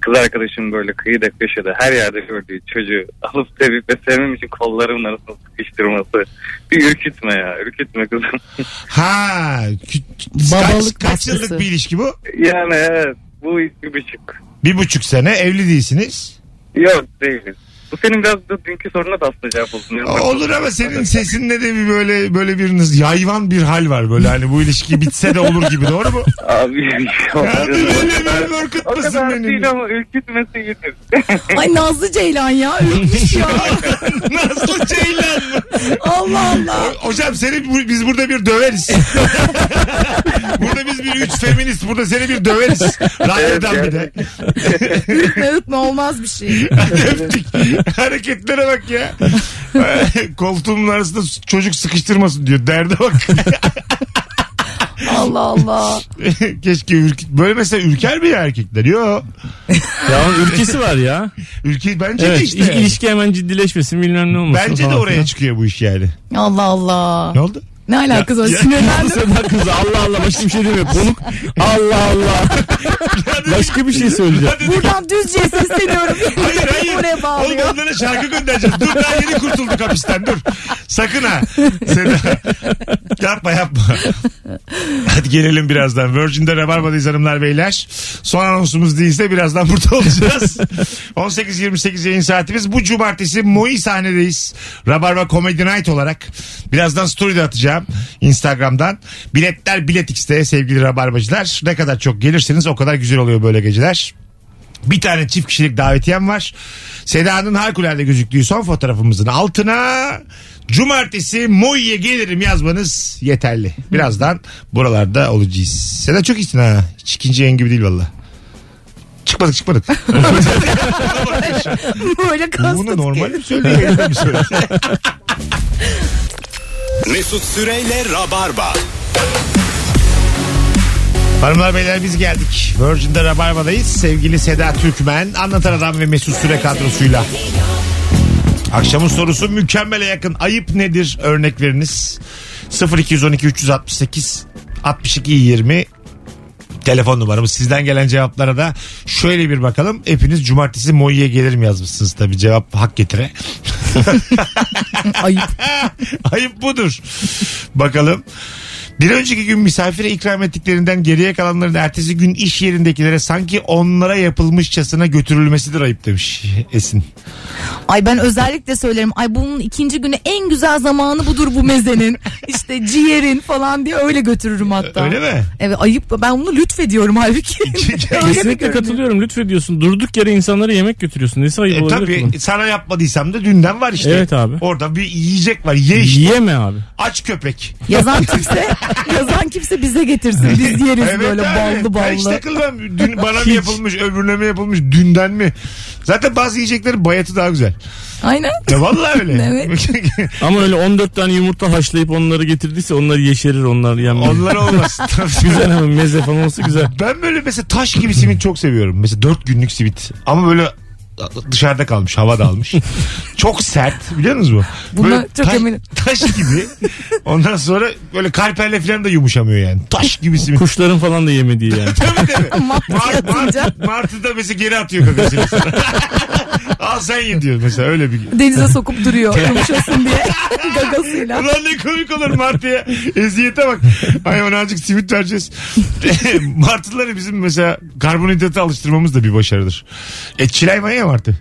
S7: kız arkadaşım böyle kıyıda köşede her yerde gördüğü çocuğu alıp sevip ve sevmem için kollarımın arasına sıkıştırması. Bir ürkütme ya ürkütme kızım. <laughs>
S3: Ha. kü- Kaç,
S4: Babalık
S3: kaç yıllık
S4: baskısı.
S3: bir ilişki bu?
S7: Yani evet bu bir buçuk.
S3: Bir buçuk sene evli değilsiniz.
S7: Yok değiliz. Bu senin biraz da dünkü soruna da aslında cevap olsun.
S3: Olur ama senin sesinde de bir böyle böyle bir yayvan bir hal var böyle hani bu ilişki bitse de olur gibi doğru mu?
S7: Abi o
S3: Ya
S7: kadar,
S3: böyle bir
S7: o
S3: korkutmasın
S7: kadar
S3: beni.
S7: değil ama ürkütmesi iyidir.
S4: Ay Nazlı Ceylan ya
S3: <laughs>
S4: ürkmüş ya.
S3: Nasıl Ceylan mı?
S4: Allah Allah.
S3: Hocam seni bu- biz burada bir döveriz. <laughs> burada biz bir üç feminist burada seni bir döveriz. Radyodan bir de.
S4: Ütme ütme olmaz bir şey.
S3: <laughs> Öptük. Hareketlere bak ya. <laughs> Koltuğumun arasında çocuk sıkıştırmasın diyor. Derde bak. <laughs>
S4: Allah Allah.
S3: Keşke ürk... Böyle mesela ürker mi ya erkekler? Yok.
S5: Ya onun ülkesi var
S3: <laughs>
S5: ya.
S3: Ülke bence
S5: evet.
S3: de
S5: il-
S3: işte.
S5: ilişki hemen ciddileşmesin bilmem ne olmasın.
S3: Bence de
S5: falan
S3: oraya
S5: filan.
S3: çıkıyor bu iş yani.
S4: Allah Allah.
S3: Ne oldu?
S4: Ne alakası var?
S3: Ya-
S5: Bu
S3: <laughs>
S4: Sinirlendim.
S5: sefer kız Allah Allah başka bir şey demiyor. Konuk Allah Allah. başka bir şey söyleyeceğim.
S4: Buradan düzce sesleniyorum.
S3: Hayır hayır.
S4: <laughs> Oraya
S3: Oğlum
S4: bağlıyor.
S3: onlara şarkı göndereceğiz. Dur daha yeni kurtulduk hapisten dur. Sakın ha. Seda. <laughs> yapma yapma. Hadi gelelim birazdan. Virgin'de Rabarba'dayız hanımlar beyler. Son anonsumuz değilse birazdan burada <laughs> olacağız. 18.28 yayın saatimiz. Bu cumartesi Moi sahnedeyiz. Rabarba Comedy Night olarak. Birazdan story'de atacağım. Instagram'dan. Biletler Bilet X'te sevgili Rabarbacılar. Ne kadar çok gelirseniz o kadar güzel oluyor böyle geceler. Bir tane çift kişilik davetiyem var. Seda'nın harikulade gözüktüğü son fotoğrafımızın altına cumartesi Moi'ye gelirim yazmanız yeterli. Birazdan buralarda olacağız. Seda çok iyisin ha. Hiç ikinci yayın gibi değil valla. Çıkmadık çıkmadık.
S4: Böyle
S3: Bunu
S4: kastım.
S3: normal mi söylüyor? yayında mı söylüyor?
S2: Mesut Süreyle Rabarba.
S3: Hanımlar beyler biz geldik. Virgin'de Rabarba'dayız. Sevgili Seda Türkmen, Anlatan Adam ve Mesut Süre kadrosuyla. Akşamın sorusu mükemmele yakın. Ayıp nedir? Örnek veriniz. 0212 368 62 20 telefon numaramız. Sizden gelen cevaplara da şöyle bir bakalım. Hepiniz cumartesi Moi'ye gelirim yazmışsınız tabii cevap hak getire.
S4: Ayıp.
S3: <laughs> Ayıp budur. Bakalım. Bir önceki gün misafire ikram ettiklerinden geriye kalanların ertesi gün iş yerindekilere sanki onlara yapılmışçasına götürülmesidir ayıp demiş Esin.
S4: Ay ben özellikle söylerim. Ay bunun ikinci günü en güzel zamanı budur
S3: <laughs>
S4: bu mezenin. işte ciğerin falan diye öyle götürürüm hatta.
S3: Öyle mi?
S4: Evet ayıp. Ben bunu lütfediyorum
S3: <laughs>
S4: halbuki. <laughs>
S5: Kesinlikle katılıyorum. Lütfediyorsun. Durduk yere insanlara yemek götürüyorsun. Nesi ayıp
S3: E,
S5: olabilir ki bunun?
S3: tabii sana yapmadıysam da dünden var işte.
S5: Evet abi.
S3: Orada bir yiyecek var. Ye işte.
S5: Yeme abi.
S3: Aç köpek.
S4: yazan kimse yazan kimse bize getirsin. Biz yeriz böyle
S3: abi.
S4: ballı
S3: Ben hiç
S4: ballı.
S3: takılmam. Dün bana mı
S5: Hiç.
S3: yapılmış, öbürüne mi yapılmış, dünden mi? Zaten bazı yiyeceklerin bayatı daha güzel.
S4: Aynen.
S3: Ya vallahi öyle.
S4: Evet.
S5: Ama öyle 14 tane yumurta haşlayıp onları getirdiyse onlar yeşerir onlar yenmez.
S3: <laughs> Onlar olmaz.
S5: <laughs> Güzel ama meze falan olsa güzel.
S3: Ben böyle mesela taş gibi simit çok seviyorum. Mesela 4 günlük simit. Ama böyle dışarıda kalmış, hava
S4: <laughs>
S3: dalmış. çok sert biliyor musunuz bu?
S4: Buna
S3: Böyle
S4: çok
S3: taş,
S4: eminim.
S3: Taş gibi. Ondan sonra böyle kalperle falan da yumuşamıyor yani. Taş gibi simit.
S5: Kuşların falan da yemediği
S3: <laughs>
S5: yani.
S3: Tabii
S4: <laughs>
S3: tabii.
S4: Mantıya
S3: Mart,
S4: atınca
S3: Mart, Martı'da mesela geri atıyor kakasını. <laughs> Al sen ye diyor mesela öyle bir
S4: denize sokup duruyor
S3: <laughs>
S4: yumuşasın diye gagasıyla.
S3: Ulan ne komik olur Martı'ya. Eziyete bak. Ay ona azıcık simit vereceğiz. <laughs> Martıları bizim mesela karbonhidrata alıştırmamız da bir başarıdır. E çilay mı ya Martı?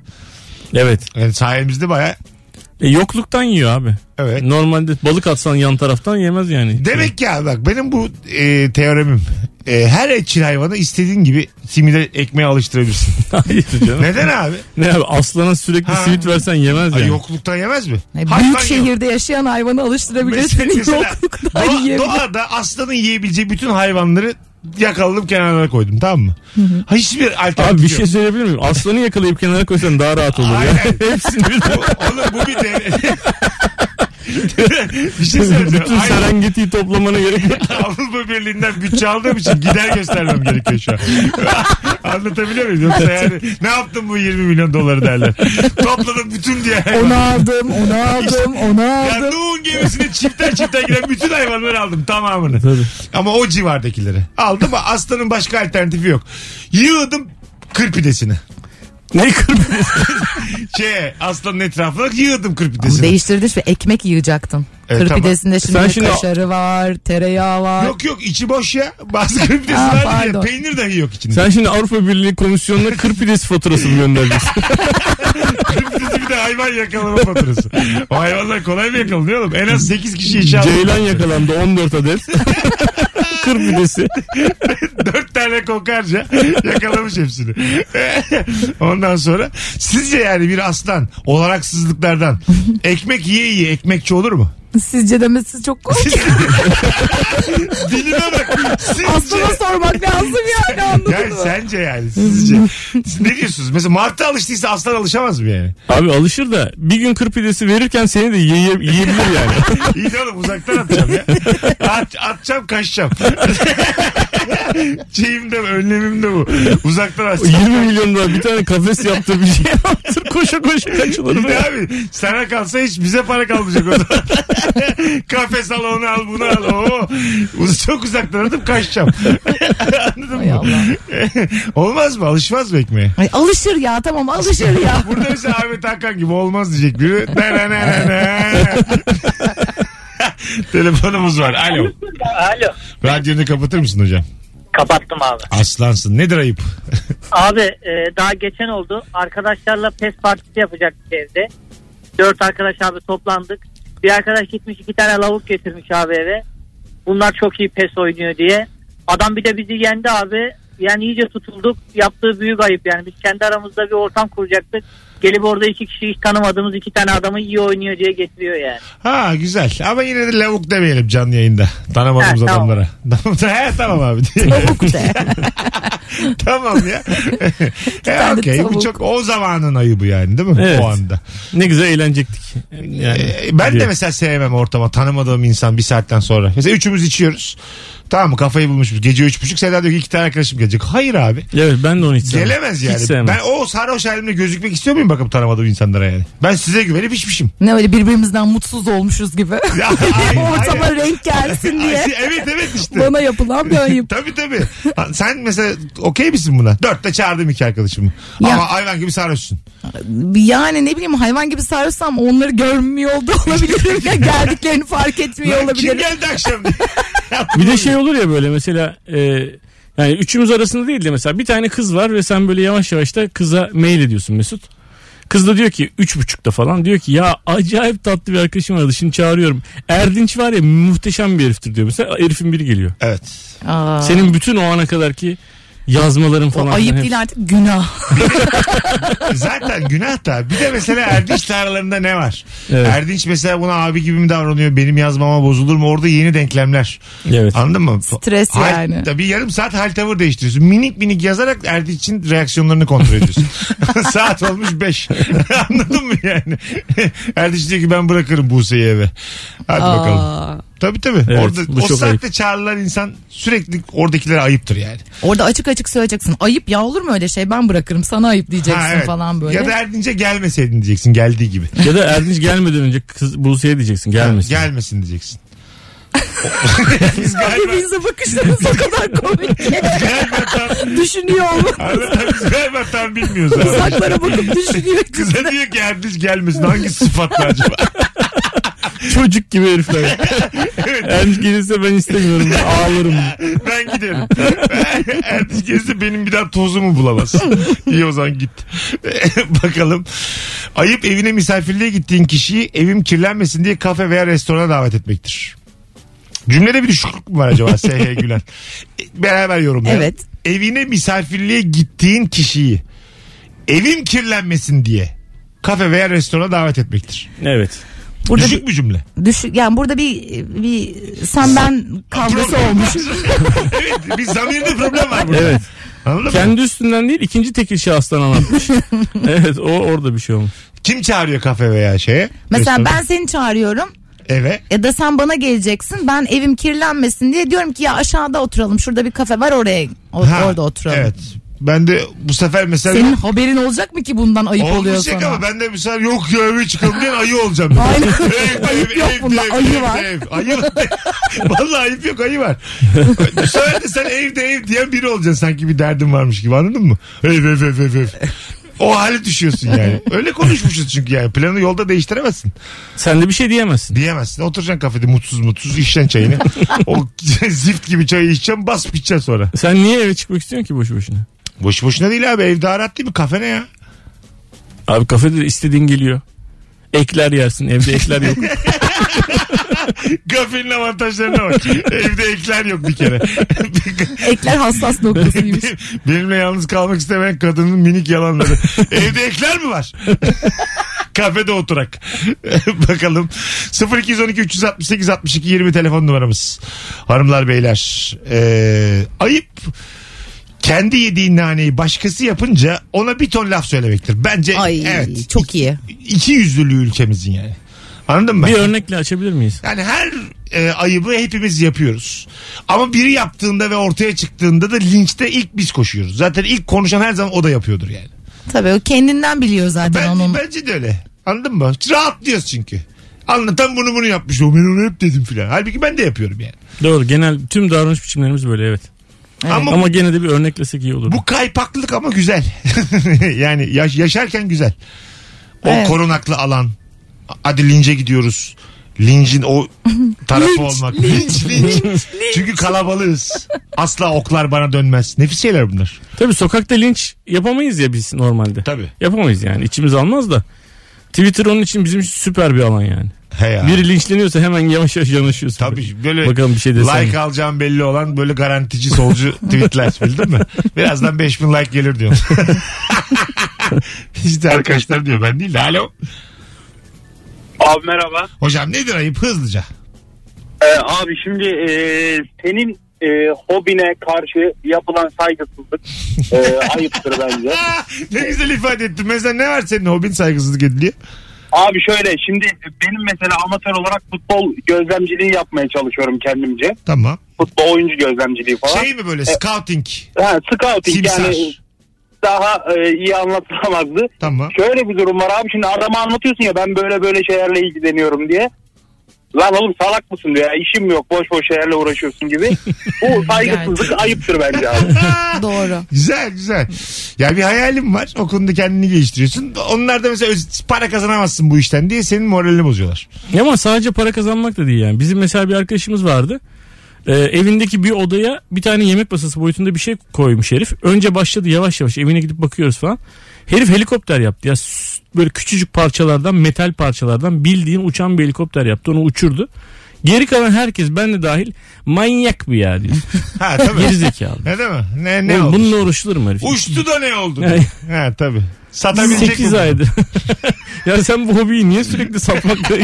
S5: Evet.
S3: Yani sayemizde baya
S5: E, yokluktan yiyor abi.
S3: evet.
S5: Normalde balık atsan yan taraftan yemez yani.
S3: Demek ki abi bak benim bu e, teoremim. E, her etçil hayvanı istediğin gibi simide ekmeğe alıştırabilirsin.
S5: <laughs> Hayır canım.
S3: Neden abi?
S5: Ne abi aslana sürekli
S3: Ha.
S5: simit versen yemez
S3: Ay,
S5: yani.
S3: yokluktan yemez mi? Hayvan
S4: Büyük
S3: yok.
S4: şehirde yaşayan hayvanı alıştırabilirsin.
S3: Mesela, mesela
S4: Yokluktan
S3: doğa,
S4: yiyebilir.
S3: doğada aslanın yiyebileceği bütün hayvanları yakaladım kenarlara koydum tamam mı? Ha, Hiçbir alternatif
S5: Abi bir
S3: yok.
S5: şey söyleyebilir miyim? Aslanı yakalayıp kenara koysan daha rahat olur ya.
S3: Aynen. <laughs>
S5: Hepsini birden-
S3: Oğlum bu bir de... <laughs> bir şey söyleyeceğim.
S5: Bütün
S3: Aynen.
S5: serengetiyi toplamana gerek yok.
S3: Avrupa Birliği'nden bütçe aldığım için gider göstermem gerekiyor şu an. <laughs> Anlatabiliyor muyum? Yoksa yani ne yaptın bu 20 milyon doları derler. Topladım bütün diye.
S4: <laughs> Onu aldım, onu aldım,
S5: <laughs>
S4: onu
S3: Ya
S4: aldım.
S3: Nuh'un gemisine çifter çifter giren bütün hayvanları aldım tamamını.
S5: Tabii.
S3: Ama o civardakileri. Aldım ama aslanın başka alternatifi yok. Yığdım Kır pidesini.
S5: Ne kırmızı?
S3: Şey aslanın etrafına yığdım kır
S4: Ama
S3: pidesini.
S4: değiştirdin şimdi ekmek yiyecektin.
S3: E,
S4: Kır
S3: tamam.
S4: pidesinde
S5: Sen
S4: şimdi,
S5: şimdi-
S4: kaşarı var, tereyağı var.
S3: Yok yok içi boş ya. Bazı kır pidesi
S4: Ha,
S3: var diye
S4: pardon.
S3: peynir dahi yok içinde.
S5: Sen şimdi Avrupa Birliği Komisyonu'na kır pidesi faturası mı
S3: <laughs>
S5: göndereceksin?
S3: Kır pidesi bir de hayvan yakalama faturası. O hayvanlar kolay mı yakalanıyor oğlum? En az 8 kişi işe aldı.
S5: Ceylan
S3: <laughs>
S5: yakalandı 14 adet. kır pidesi.
S3: 4 tane kokarca yakalamış hepsini. <laughs> Ondan sonra sizce yani bir aslan olaraksızlıklardan ekmek yiye yiye ekmekçi olur mu?
S4: Sizce
S3: <laughs>
S4: demesi çok komik.
S3: Dilime bak. Sizce.
S4: Aslına sormak lazım yani anladın
S3: Yani
S4: mı?
S3: sence yani sizce. Siz ne diyorsunuz? Mesela martı alıştıysa aslan alışamaz mı yani?
S5: Abi alışır da bir gün kır pidesi verirken seni de yiye, yiyebilir
S3: <laughs>
S5: yani.
S3: İyi de oğlum uzaktan atacağım ya. At, atacağım kaçacağım. Şeyim de bu, önlemim de bu. Uzaktan atacağım.
S5: 20 milyon lira bir tane kafes yaptı bir şey <laughs> yaptı. Koşa koşa
S3: İyi
S5: kaçılır
S3: de
S5: ya.
S3: abi sana kalsa hiç bize para kalmayacak o zaman. Kafes al onu al bunu al. Oo. Uz- Çok uzaktan atıp kaçacağım. Anladın
S4: Hay
S3: mı?
S4: Allah.
S3: Olmaz mı? Alışmaz mı ekmeğe?
S4: Ay, alışır ya tamam alışır ya.
S3: Burada mesela Ahmet Hakan gibi olmaz diyecek biri. Ne, ne, ne, ne, ne. Telefonumuz var. Alo.
S8: Alo.
S3: Radyonu kapatır mısın hocam?
S8: Kapattım abi.
S3: Aslansın. Nedir ayıp?
S8: Abi e, daha geçen oldu. Arkadaşlarla pes partisi yapacaktık evde. Dört arkadaş abi toplandık. Bir arkadaş gitmiş iki tane lavuk getirmiş abi eve. Bunlar çok iyi pes oynuyor diye. Adam bir de bizi yendi abi. Yani iyice tutulduk. Yaptığı büyük ayıp yani. Biz kendi aramızda bir ortam kuracaktık. Gelip orada iki kişi hiç tanımadığımız iki tane adamı iyi oynuyor diye getiriyor yani.
S3: Ha güzel. Ama yine de lavuk demeyelim canlı yayında. Tanımadığımız
S8: Ha, tamam.
S3: adamlara. <laughs> Tamam. He, tamam abi.
S4: Tavuk de.
S3: <laughs> tamam
S4: <laughs>
S3: ya. e,
S4: tane
S3: okey. Bu
S4: tavuk.
S3: çok o zamanın ayıbı yani değil mi?
S5: Evet.
S3: O anda.
S5: Ne güzel eğlenecektik.
S3: E, ben de
S5: diyor.
S3: mesela sevmem ortama tanımadığım insan bir saatten sonra. Mesela üçümüz içiyoruz. Tamam mı? Kafayı bulmuşuz. Gece üç buçuk. Seda diyor ki iki tane arkadaşım gelecek. Hayır abi.
S5: Evet ben de onu hiç sevmem.
S3: Gelemez
S5: Hiç
S3: yani.
S5: sevmem.
S3: Ben o sarhoş halimle gözükmek istiyor muyum bakıp tanımadığım insanlara yani? Ben size güvenip
S4: <laughs>
S3: içmişim.
S4: Ne öyle birbirimizden mutsuz olmuşuz gibi. <laughs>
S3: Ya, hayır,
S4: Ortama
S3: hayır.
S4: renk gelsin diye.
S3: Ay, <laughs> evet evet işte.
S4: Bana yapılan bir ayıp.
S3: Tabii tabii. Ha, Sen mesela okey misin buna? Dörtte çağırdım iki arkadaşımı.
S4: Ya.
S3: Ama hayvan gibi sarhoşsun.
S4: Yani ne bileyim hayvan gibi sarılsam onları görmüyor da
S3: <laughs>
S4: olabilirim. ya geldiklerini fark etmiyor
S3: Lan kim
S4: olabilirim.
S3: geldi akşam diye. <laughs>
S5: Bir de şey olur ya böyle mesela e, yani üçümüz arasında değil de mesela bir tane kız var ve sen böyle yavaş yavaş da kıza mail ediyorsun Mesut. Kız da diyor ki üç buçukta falan diyor ki ya acayip tatlı bir arkadaşım vardı şimdi çağırıyorum. Erdinç var ya muhteşem bir heriftir diyor mesela herifin biri geliyor.
S3: Evet.
S4: Aa,
S3: Şey,
S5: Senin bütün o ana kadarki yazmaların
S4: o
S5: falan.
S4: ayıp
S5: hep-
S4: değil artık günah.
S3: Zaten günah da. Bir de
S5: <laughs>
S3: mesela Erdinç'le aralarında ne var?
S5: Evet.
S3: Erdinç mesela buna abi gibi mi davranıyor? Benim yazmama bozulur mu? Orada yeni denklemler.
S5: Evet.
S3: Anladın mı?
S4: Stres yani.
S3: Tabii yarım saat hal tavır değiştiriyorsun. Minik minik yazarak Erdinç'in reaksiyonlarını kontrol
S4: <laughs>
S3: ediyorsun. saat olmuş 5. <laughs> Anladın mı yani? Erdinç diyor ki ben bırakırım Buse'yi eve. Hadi bakalım.
S4: Aa.
S3: Tabii tabii.
S5: Evet, bu
S3: Orada, o
S5: çok
S3: saatte çağrılan insan sürekli oradakilere ayıptır yani.
S4: Orada açık açık söyleyeceksin. Ayıp ya olur mu öyle şey ben bırakırım sana ayıp diyeceksin
S3: Ha, evet.
S4: falan böyle.
S3: Ya da Erdinç'e gelmeseydin diyeceksin geldiği gibi.
S5: Ya da Erdinç gelmeden önce kız Buse'ye diyeceksin gelmesin.
S3: Ha, gelmesin
S4: <laughs>
S3: diyeceksin. Biz galiba,
S4: Birbirinize bakışlarınız o kadar
S3: <laughs>
S4: komik ki. Düşünüyor olmak.
S3: Abi, biz galiba tam bilmiyoruz. abi.
S4: Uzaklara bakıp düşünüyor.
S3: Kıza diyor ki Erdinç gelmesin. Hangi sıfatla acaba?
S5: Çocuk gibi
S3: <laughs>
S5: herifler. Erdinç gelirse ben istemiyorum ağlarım.
S3: <laughs> Ben giderim. Ertesi gelirse benim bir daha tozumu bulamaz. İyi o zaman git. <laughs> Bakalım. Ayıp evine misafirliğe gittiğin kişiyi evim kirlenmesin diye kafe veya restorana davet etmektir. Cümlede bir düşüklük mü var acaba S.H. Gülen? E, Beraber yorumlayalım.
S4: Evet.
S3: Evine misafirliğe gittiğin kişiyi evim kirlenmesin diye kafe veya restorana davet etmektir.
S5: Evet.
S4: Burada
S3: Düşük bir cümle.
S4: bir, düşün, yani burada bir, bir sen ben kavgası
S3: Problem.
S4: olmuş.
S3: <laughs> evet bir zamirde problem var burada.
S5: Evet.
S3: Anladın mı?
S5: Kendi üstünden değil ikinci tekil şahıstan
S3: <laughs>
S5: anlatmış. evet o orada bir şey olmuş.
S3: Kim çağırıyor kafe veya şeye?
S4: Mesela
S3: Restorana?
S4: ben seni çağırıyorum
S3: Eve.
S4: ya da sen bana geleceksin. Ben evim kirlenmesin diye diyorum ki ya aşağıda oturalım. Şurada bir kafe var oraya o-
S3: Ha,
S4: orada oturalım.
S3: Evet. Ben de bu sefer mesela...
S4: Senin haberin olacak mı ki bundan ayıp oluyor
S3: Olmayacak
S4: sana?
S3: ama ben de bu sefer yok ya eve çıkalım diyen ayı olacağım.
S4: <laughs> Aynen. Ayıp yok bunda, ayı var.
S3: Ev, ayı var. <laughs> Vallahi ayıp yok ayı var. bu sefer de sen evde ev diyen biri olacaksın sanki bir derdin varmış gibi anladın mı? Ev ev ev ev ev. O hale düşüyorsun yani. Öyle konuşmuşuz çünkü yani. Planı yolda değiştiremezsin.
S5: Sen de bir şey diyemezsin.
S3: Diyemezsin. Oturacaksın kafede mutsuz mutsuz içeceksin çayını. o <laughs> zift gibi çayı içeceksin basıp içeceksin sonra.
S5: Sen niye eve çıkmak istiyorsun ki boşu boşuna?
S3: Boş boşuna değil abi. Ev daha rahat değil mi? Kafe ne ya?
S5: Abi kafede istediğin geliyor. Ekler yersin evde ekler
S3: <laughs>
S5: yok.
S3: Kafenin avantajlarına
S4: <laughs>
S3: bak. Evde ekler yok bir kere.
S4: Ekler hassas noktasıymış.
S3: <laughs> Benimle yalnız kalmak istemeyen kadının minik yalanları. Evde ekler mi var? <laughs> Kafede oturak. <laughs> Bakalım. 0212 368 62 20 telefon numaramız. Hanımlar beyler. Ee, ayıp kendi yediğin naneyi başkası yapınca ona bir ton laf söylemektir. Bence
S4: Ay
S3: evet.
S4: çok iyi.
S3: İki yüzlülüğü ülkemizin yani. Anladın mı?
S5: bir örnekle açabilir miyiz?
S3: Yani her e, ayıbı hepimiz yapıyoruz. Ama biri yaptığında ve ortaya çıktığında da linçte ilk biz koşuyoruz. Zaten ilk konuşan her zaman o da yapıyordur yani.
S4: Tabii o kendinden biliyor zaten
S3: Ben,
S4: onun.
S3: Bence de öyle. Anladın mı? Rahatlıyoruz çünkü. Anlatan bunu bunu yapmış. O ben onu hep dedim filan. Halbuki ben de yapıyorum yani.
S5: Doğru genel tüm davranış biçimlerimiz böyle evet.
S3: Ama,
S5: Ama gene de bir örneklesek iyi olur.
S3: bu kaypaklılık ama güzel. <laughs> yani yaş- yaşarken güzel. O
S4: Evet.
S3: korunaklı alan. Hadi lince gidiyoruz. Lincin o tarafı olmak. Linç, linç. Çünkü kalabalığız. Asla oklar bana dönmez. Nefis şeyler bunlar.
S5: Tabii sokakta linç yapamayız ya biz normalde.
S3: Tabii.
S5: Yapamayız yani içimiz almaz da. Twitter onun için bizim için süper bir alan yani.
S3: He ya.
S5: Biri linçleniyorsa hemen yavaş yavaş yanaşıyorsun.
S3: Tabii böyle
S5: Bakalım bir şey desen.
S3: like alacağım belli olan böyle garantici solcu tweetler bildin mi? Birazdan 5000 like gelir diyor. işte arkadaşlar diyor ben değil de alo.
S6: Abi merhaba.
S3: Hocam nedir ayıp hızlıca?
S6: Ee, abi şimdi e, senin e, hobine karşı yapılan saygısızlık e, ayıptır bence.
S3: ne güzel ifade ettin. Mesela ne var senin hobin saygısızlık ediliyor?
S6: Abi şöyle şimdi benim mesela amatör olarak futbol gözlemciliği yapmaya çalışıyorum kendimce.
S3: Tamam.
S6: Futbol oyuncu gözlemciliği falan.
S3: Şey mi böyle scouting?
S6: ha, scouting
S3: Timsah.
S6: yani daha e, iyi anlatılamazdı.
S3: Tamam.
S6: Şöyle bir durum var abi şimdi adama anlatıyorsun ya ben böyle böyle şeylerle ilgileniyorum diye. Lan oğlum salak mısın diyor ya işim yok boş boş şeylerle uğraşıyorsun gibi.
S3: <laughs>
S6: Bu saygısızlık ayıptır bence abi.
S4: Doğru.
S3: Güzel güzel. Ya bir hayalim var. O konuda kendini geliştiriyorsun. Onlar da mesela öz- para kazanamazsın bu işten diye senin moralini bozuyorlar.
S5: Ama sadece para kazanmak da değil yani. Bizim mesela bir arkadaşımız vardı. Ee, evindeki bir odaya bir tane yemek masası boyutunda bir şey koymuş herif. Önce başladı yavaş yavaş evine gidip bakıyoruz falan. Herif helikopter yaptı ya s- böyle küçücük parçalardan metal parçalardan bildiğin uçan bir helikopter yaptı onu uçurdu. Geri kalan herkes ben de dahil manyak bu ya
S3: <laughs>
S5: diyor.
S3: Ha tabii.
S5: Geri zekalı.
S3: ne değil mi? Ne, ne
S5: Oğlum
S3: oldu?
S5: bununla uğraşılır mı herif?
S3: Uçtu da ne oldu?
S5: Yani-
S3: ha tabii. Satabilecek
S5: 8
S3: mi?
S5: aydır. <laughs> ya sen bu hobiyi niye
S3: <laughs>
S5: sürekli satmakta?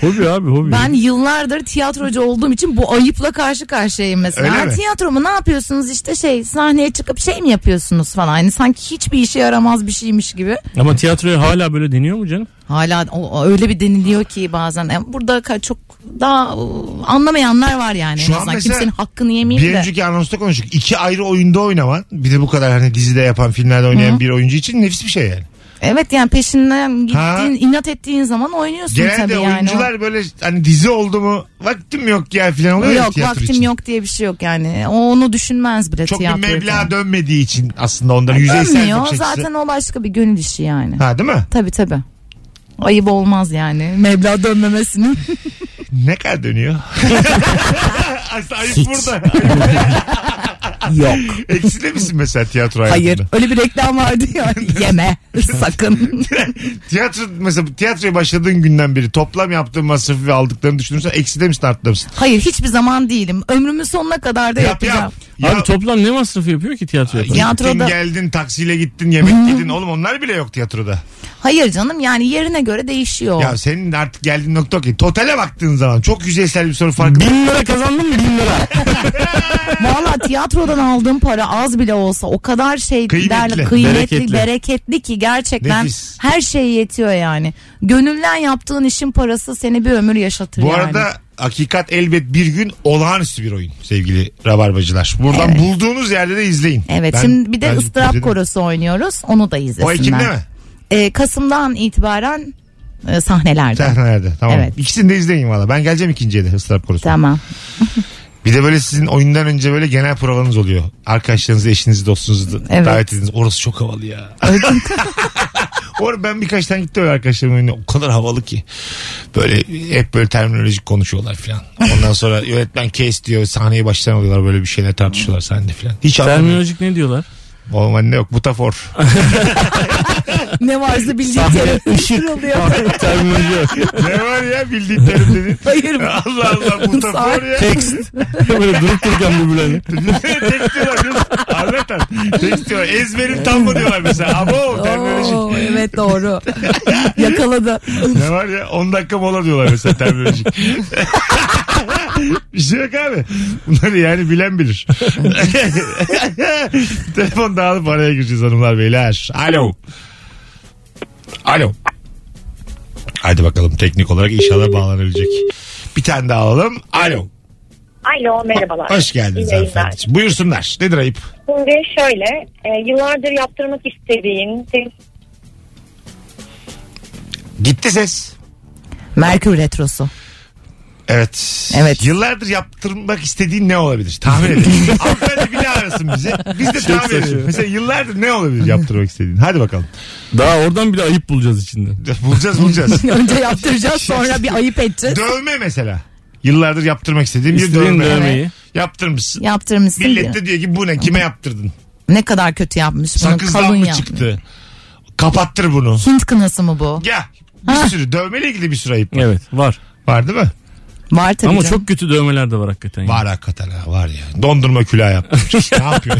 S5: hobi abi hobi.
S4: Ben yıllardır tiyatrocu olduğum için bu ayıpla karşı karşıyayım mesela.
S3: Öyle
S4: Ha,
S3: mi?
S4: tiyatro mu ne yapıyorsunuz işte şey sahneye çıkıp şey mi yapıyorsunuz falan. Hani sanki hiçbir işe yaramaz bir şeymiş gibi.
S5: Ama tiyatroya hala böyle deniyor mu canım?
S4: Hala o- o öyle bir deniliyor ki bazen. Yani burada ka- çok daha o, anlamayanlar var yani.
S3: Şu an
S4: en azından.
S3: mesela
S4: Kimsenin hakkını
S3: Bir
S4: yemeyeyim de.
S3: önceki anonsta konuştuk. İki ayrı oyunda oynaman bir de bu kadar hani dizide yapan filmlerde oynayan bir oyuncu için nefis bir şey yani.
S4: Evet yani peşinden gittiğin
S3: Ha.
S4: inat ettiğin zaman oynuyorsun
S3: Genelde
S4: tabii yani.
S3: oyuncular böyle hani dizi oldu mu vaktim yok ya falan oluyor ya
S4: Yok
S3: tiyatro
S4: vaktim
S3: için.
S4: yok diye bir şey yok yani. O onu düşünmez bile
S3: Çok bir
S4: tiyatroyu
S3: meblağ
S4: falan. E,
S3: dönmediği için aslında ondan yüzeysel
S4: Dönmüyor.
S3: bakış açısı.
S4: Zaten o başka bir gönül işi yani.
S3: Ha değil mi?
S4: Tabii tabii. Ayıp olmaz yani. Meblağ dönmemesinin.
S3: Ne kadar dönüyor?
S4: <laughs>
S3: aslında ayıp burada.
S4: Yok.
S3: Ekside misin mesela tiyatro hayatında?
S4: Hayır. Öyle bir reklam vardı
S3: <laughs>
S4: ya. Yeme. Sakın.
S3: Tiyatro, mesela tiyatroya başladığın günden beri toplam yaptığın masrafı ve aldıklarını düşünürsen ekside misin artta mısın?
S4: Hayır hiçbir zaman değilim. Ömrümün sonuna kadar da
S3: Yap
S4: yapacağım.
S3: yap. Ya-
S5: Abi toplam ne masrafı yapıyor ki tiyatro yapan?
S4: Ya- Tiyatroda-
S3: Gittin geldin taksiyle gittin
S4: <laughs>
S3: yemek yedin oğlum onlar bile yok tiyatroda.
S4: Hayır canım yani yerine göre değişiyor.
S3: Ya senin artık geldiğin nokta okey. Totale baktığın zaman çok yüzeysel bir soru farkı.
S5: Bin lira kazandın mı bin lira?
S4: Valla tiyatrodan aldığım para az bile olsa o kadar şey
S3: Kıymetli,
S4: değerli, kıymetli
S5: bereketli.
S4: bereketli. ki gerçekten
S3: Nefis.
S4: her şey yetiyor yani. Gönülden yaptığın işin parası seni bir ömür yaşatır
S3: Bu
S4: yani.
S3: arada Hakikat elbet bir gün olağanüstü bir oyun sevgili rabarbacılar. Buradan
S4: Evet.
S3: bulduğunuz yerde de izleyin.
S4: Evet
S3: Ben-
S4: şimdi bir de
S3: ben
S4: ıstırap
S3: dedim.
S4: korosu oynuyoruz. Onu da
S3: O
S4: izlesinler.
S3: Ekim'de mi?
S4: Ee, Kasım'dan itibaren e, sahnelerde.
S3: Sahnelerde tamam.
S4: Evet.
S3: İkisini de izleyin valla. Ben geleceğim ikinciye de ıstırap korusu.
S4: Tamam.
S3: Bir de böyle sizin oyundan önce böyle genel provanız oluyor. Arkadaşlarınızı, eşinizi, dostunuzu da-
S4: Evet.
S3: davet ediniz. Orası çok havalı ya. <laughs> Or ben birkaç tane gittim öyle arkadaşlarımın önüne. O kadar havalı ki. Böyle hep böyle terminolojik konuşuyorlar filan. Ondan sonra <laughs> yönetmen kes diyor. Sahneye baştan alıyorlar böyle bir şeyler tartışıyorlar sahnede filan. Hiç anlamıyorum.
S5: Terminolojik ne <laughs> diyorlar?
S3: Oğlum anne yok. Butafor.
S4: <laughs> ne varsa bildiğin terim oluyor.
S5: Terminoloji yok.
S3: ne var ya bildiğin terim dedin.
S4: <laughs>
S3: <laughs>
S4: Hayır.
S3: Allah Allah butafor ya.
S5: <laughs> Böyle durup dururken birbirlerine.
S3: <laughs> Tek diyorlar kız. Anlatan. Tek diyorlar. Ezberim tam mı diyorlar mesela. Abo terminolojik.
S4: Oo,
S3: <laughs>
S4: evet doğru. Yakaladı.
S3: Ne var ya 10 dakika mola diyorlar mesela terminolojik. bir şey yok abi. Bunları yani bilen bilir. Telefon dağılıp araya gireceğiz hanımlar beyler. Alo. Alo. Hadi bakalım teknik olarak inşallah bağlanabilecek. Bir tane daha alalım. Alo.
S9: <laughs> Alo merhabalar.
S3: Hoş geldiniz
S9: İyi yayınlar.
S3: hanımefendiciğim. Buyursunlar. Nedir ayıp?
S9: Şimdi şöyle e, yıllardır yaptırmak istediğin senin
S3: Gitti ses.
S4: Merkür Retrosu.
S3: Evet.
S4: Evet.
S3: Yıllardır yaptırmak istediğin ne olabilir? Tahmin
S4: <laughs>
S3: edelim. Hanımefendi bir daha arasın bizi. Biz de tahmin edelim.
S5: saçma.
S3: Mesela yıllardır ne olabilir yaptırmak istediğin? Hadi bakalım.
S5: Daha oradan bile ayıp bulacağız içinde.
S3: Bulacağız
S4: <laughs>
S3: bulacağız.
S4: Önce yaptıracağız
S3: Şey,
S4: sonra bir ayıp edeceğiz.
S3: dövme mesela. Yıllardır yaptırmak istediğin bir
S5: İstediğin
S3: dövme.
S5: dövmeyi.
S3: Yaptırmışsın.
S4: Yaptırmışsın.
S3: Millet de diyor ki bu ne kime yaptırdın?
S4: Ne kadar kötü yapmış bunu.
S3: Sakızdan
S4: kalın
S3: mı
S4: yapmış.
S3: çıktı? Kapattır bunu.
S4: Hint kınası mı bu?
S3: Ya bir sürü dövmeyle ilgili bir sürü ayıp var.
S5: Evet var.
S3: Var değil mi?
S4: Var tabii
S5: Ama
S4: canım.
S5: çok kötü dövmeler de var hakikaten. ya.
S3: Var hakikaten ha var ya. Dondurma külahı
S5: <laughs>
S3: yaptırmış. ne yapıyor?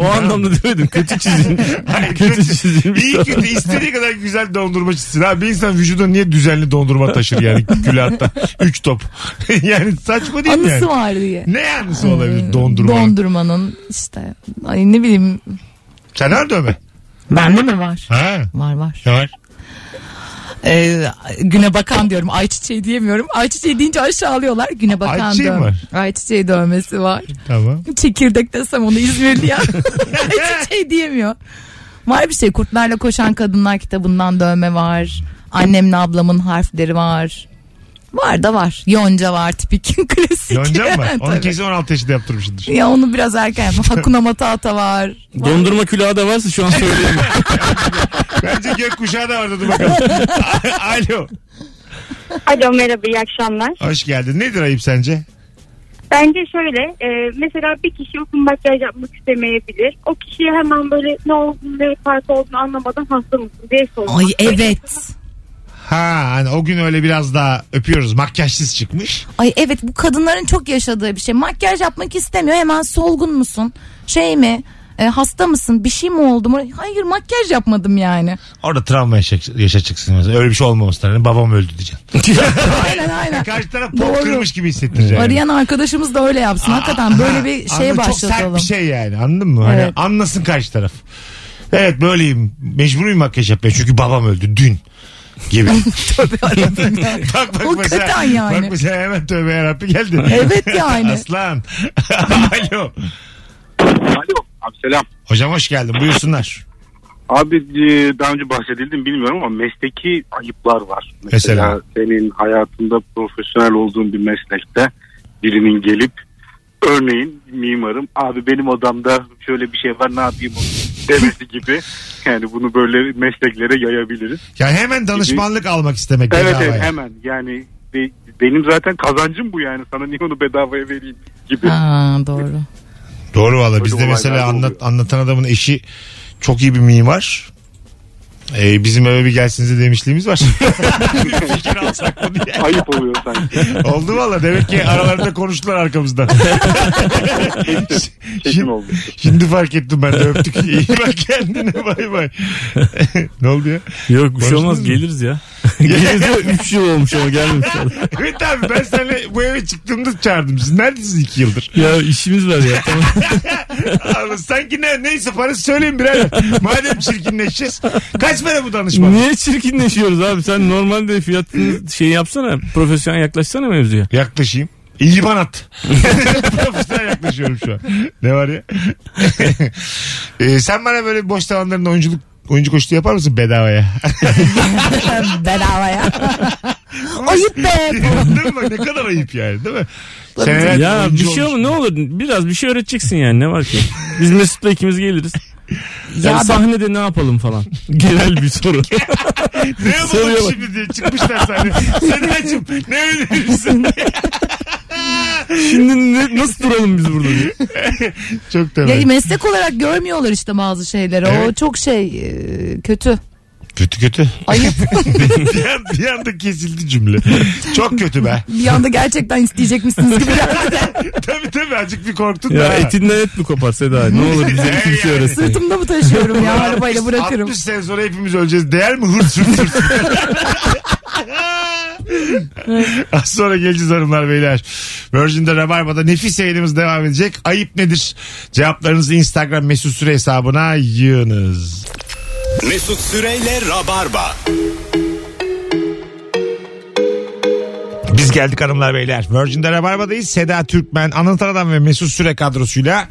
S5: O anlamda demedim. <laughs> Kötü çizim.
S3: Hayır,
S5: kötü çizim.
S3: İyi kötü istediği kadar güzel dondurma çizsin. Abi bir insan vücuduna niye düzenli dondurma taşır
S4: <laughs>
S3: yani külahta? Üç top. <laughs> yani saçma değil mi
S4: Anısı
S3: yani?
S4: var Hmm, diye.
S3: Ne anısı olabilir dondurma?
S4: Dondurmanın işte ay ne bileyim.
S3: Sen nerede dövme?
S4: Bende mi var?
S3: Ha.
S4: Var var.
S3: Ne var?
S4: Ee, güne bakan diyorum. Ayçiçeği diyemiyorum. Ayçiçeği deyince aşağılıyorlar. Güne bakan
S3: Ayçiçeği mi
S4: dövme-
S3: var?
S4: Ayçiçeği dövmesi var. <laughs>
S3: Tamam.
S4: Çekirdek desem onu
S3: <laughs>
S4: İzmirli ya. Ayçiçeği diyemiyor. Var bir şey. Kurtlarla Koşan Kadınlar kitabından dövme var. Annemle ablamın harfleri var. Var da var. Yonca var tipik <laughs> klasik.
S3: Yonca mı var? Onu
S4: Tabii.
S3: kesin 16 yaşında yaptırmışsındır.
S4: Ya onu biraz erken
S3: <laughs>
S4: yapma. Hakuna Matata var.
S5: Dondurma külahı da varsa şu an <laughs> söyleyeyim.
S3: Bence gökkuşağı da vardı dur bakalım.
S4: <laughs>
S3: Alo.
S9: Alo merhaba iyi akşamlar.
S3: Hoş geldin. Nedir ayıp sence?
S9: Bence şöyle e, mesela bir kişi uzun makyaj yapmak istemeyebilir. O kişiye hemen böyle ne olduğunu ne farkı olduğunu anlamadan hasta mısın diye sormak.
S4: Ay evet.
S3: Ha hani o gün öyle biraz daha öpüyoruz. Makyajsız çıkmış.
S4: Ay evet bu kadınların çok yaşadığı bir şey. Makyaj yapmak istemiyor. Hemen solgun musun? Şey mi? E, hasta mısın? Bir şey mi oldu mu? Hayır makyaj yapmadım yani.
S3: Orada travma yaşa, yaşa çıksın mesela. Öyle bir şey olmaması lazım. Babam öldü diyeceksin.
S4: <laughs> Aynen
S3: <laughs>
S4: aynen.
S3: Karşı taraf
S4: Doğru.
S3: pop kırmış gibi hissettireceksin.
S4: Arayan arkadaşımız da öyle yapsın. Hakikaten böyle bir şeye
S3: Anladın? Çok sert
S4: başlatalım.
S3: bir şey yani anladın mı? Hani
S4: Evet.
S3: anlasın karşı taraf. Evet böyleyim. Mecburuyum makyaj yapmaya çünkü babam öldü dün
S4: <laughs>
S3: gibi. <laughs> bak bak mesela,
S4: Hakikaten yani.
S3: bak mesela hemen tövbe yarabbi geldi. <laughs>
S4: Evet yani.
S3: Aslan. Alo.
S7: Alo abi selam.
S3: Hocam hoş geldin buyursunlar.
S7: Abi e, daha önce bahsedildim bilmiyorum ama mesleki ayıplar var.
S3: Mesela?
S7: senin hayatında profesyonel olduğun bir meslekte birinin gelip örneğin mimarım abi benim odamda şöyle bir şey var ne yapayım onu?" demesi gibi. <laughs> Yani bunu böyle mesleklere yayabiliriz.
S3: Yani hemen danışmanlık almak istemek.
S7: Evet
S3: bedava
S7: evet
S3: yani.
S7: hemen yani be- benim zaten kazancım bu yani sana niye onu bedavaya vereyim gibi.
S4: Ha,
S3: <laughs>
S4: doğru.
S3: Doğru valla
S7: Öyle
S3: bizde mesela
S7: olaylar da
S3: anlat,
S7: oluyor.
S3: anlatan adamın eşi çok iyi bir mimar. Ee, bizim eve bir gelsinize demişliğimiz var. Bir <laughs> fikir alsak mı diye.
S7: Ayıp oluyor
S3: <laughs>
S7: sanki.
S3: Oldu valla demek ki aralarında konuştular arkamızdan.
S7: Kesin oldu.
S3: Şimdi fark ettim ben de öptük. İyi bak kendine bay bay. ne oldu ya?
S5: Yok bir şey
S3: Konuştunuz
S5: olmaz <laughs>
S3: mu?
S5: geliriz ya. Gelince 3 yıl olmuş ama gelmemiş.
S3: evet abi ben seninle bu eve çıktığımda çağırdım. Siz neredesiniz iki yıldır?
S5: ya işimiz var ya. Tamam.
S3: Abi sanki ne, neyse parası söyleyin birader. Madem çirkinleşeceğiz. Kaç para bu danışma?
S5: Niye çirkinleşiyoruz abi? Sen normalde fiyatını şey yapsana. Profesyonel yaklaşsana mevzuya.
S3: Yaklaşayım. İyi bana at. <laughs> Profesyonel yaklaşıyorum şu an. Ne var ya? <laughs> Ee, sen bana böyle boş zamanlarında oyunculuk oyuncu koştu yapar mısın bedavaya?
S4: Bedava ya. <laughs> Ayıp be.
S3: değil mi? Ne kadar ayıp yani değil mi? Senelerdir
S5: ya
S3: oyuncu
S5: bir şey
S3: olmuş.
S5: ama ne olur biraz bir şey öğreteceksin yani ne var ki. Biz Mesut'la ikimiz geliriz. Ya
S4: ben-
S5: sahnede ne yapalım falan. <laughs> Genel bir soru.
S3: Ne yapalım
S5: Soruyorlar.
S3: şimdi diye çıkmışlar sahne. Senacığım ne önerirsin?
S5: <laughs> Şimdi ne- nasıl duralım biz burada diye.
S3: Çok
S4: Ya,
S3: temel.
S4: meslek olarak görmüyorlar işte bazı şeyleri. O
S3: Evet.
S4: çok şey e, kötü.
S3: Kötü kötü.
S4: Ayıp.
S3: <laughs> bir, an- bir anda kesildi cümle. Çok kötü be. <laughs>
S4: bir anda gerçekten isteyecekmişsiniz gibi geldi.
S3: tabii tabii azıcık bir korktun
S5: Ya
S3: da.
S5: etinden et mi kopar Seda? Ne olur bize bir kimse öğretsin.
S4: Sırtımda mı
S3: <laughs>
S4: taşıyorum ya arabayla bırakırım.
S3: 60 sene sonra hepimiz öleceğiz. Değer mi hırs hırs
S4: <laughs>
S3: hırs? Az sonra geleceğiz hanımlar beyler. Virgin'de Rabarba'da nefis yayınımız devam edecek. Ayıp nedir? Cevaplarınızı Instagram mesut süre hesabına yığınız.
S2: Mesut Süreyle Rabarba.
S3: Biz geldik hanımlar beyler. Virgin'de Rabarba'dayız. Seda Türkmen, Anlatan Adam ve Mesut Süre kadrosuyla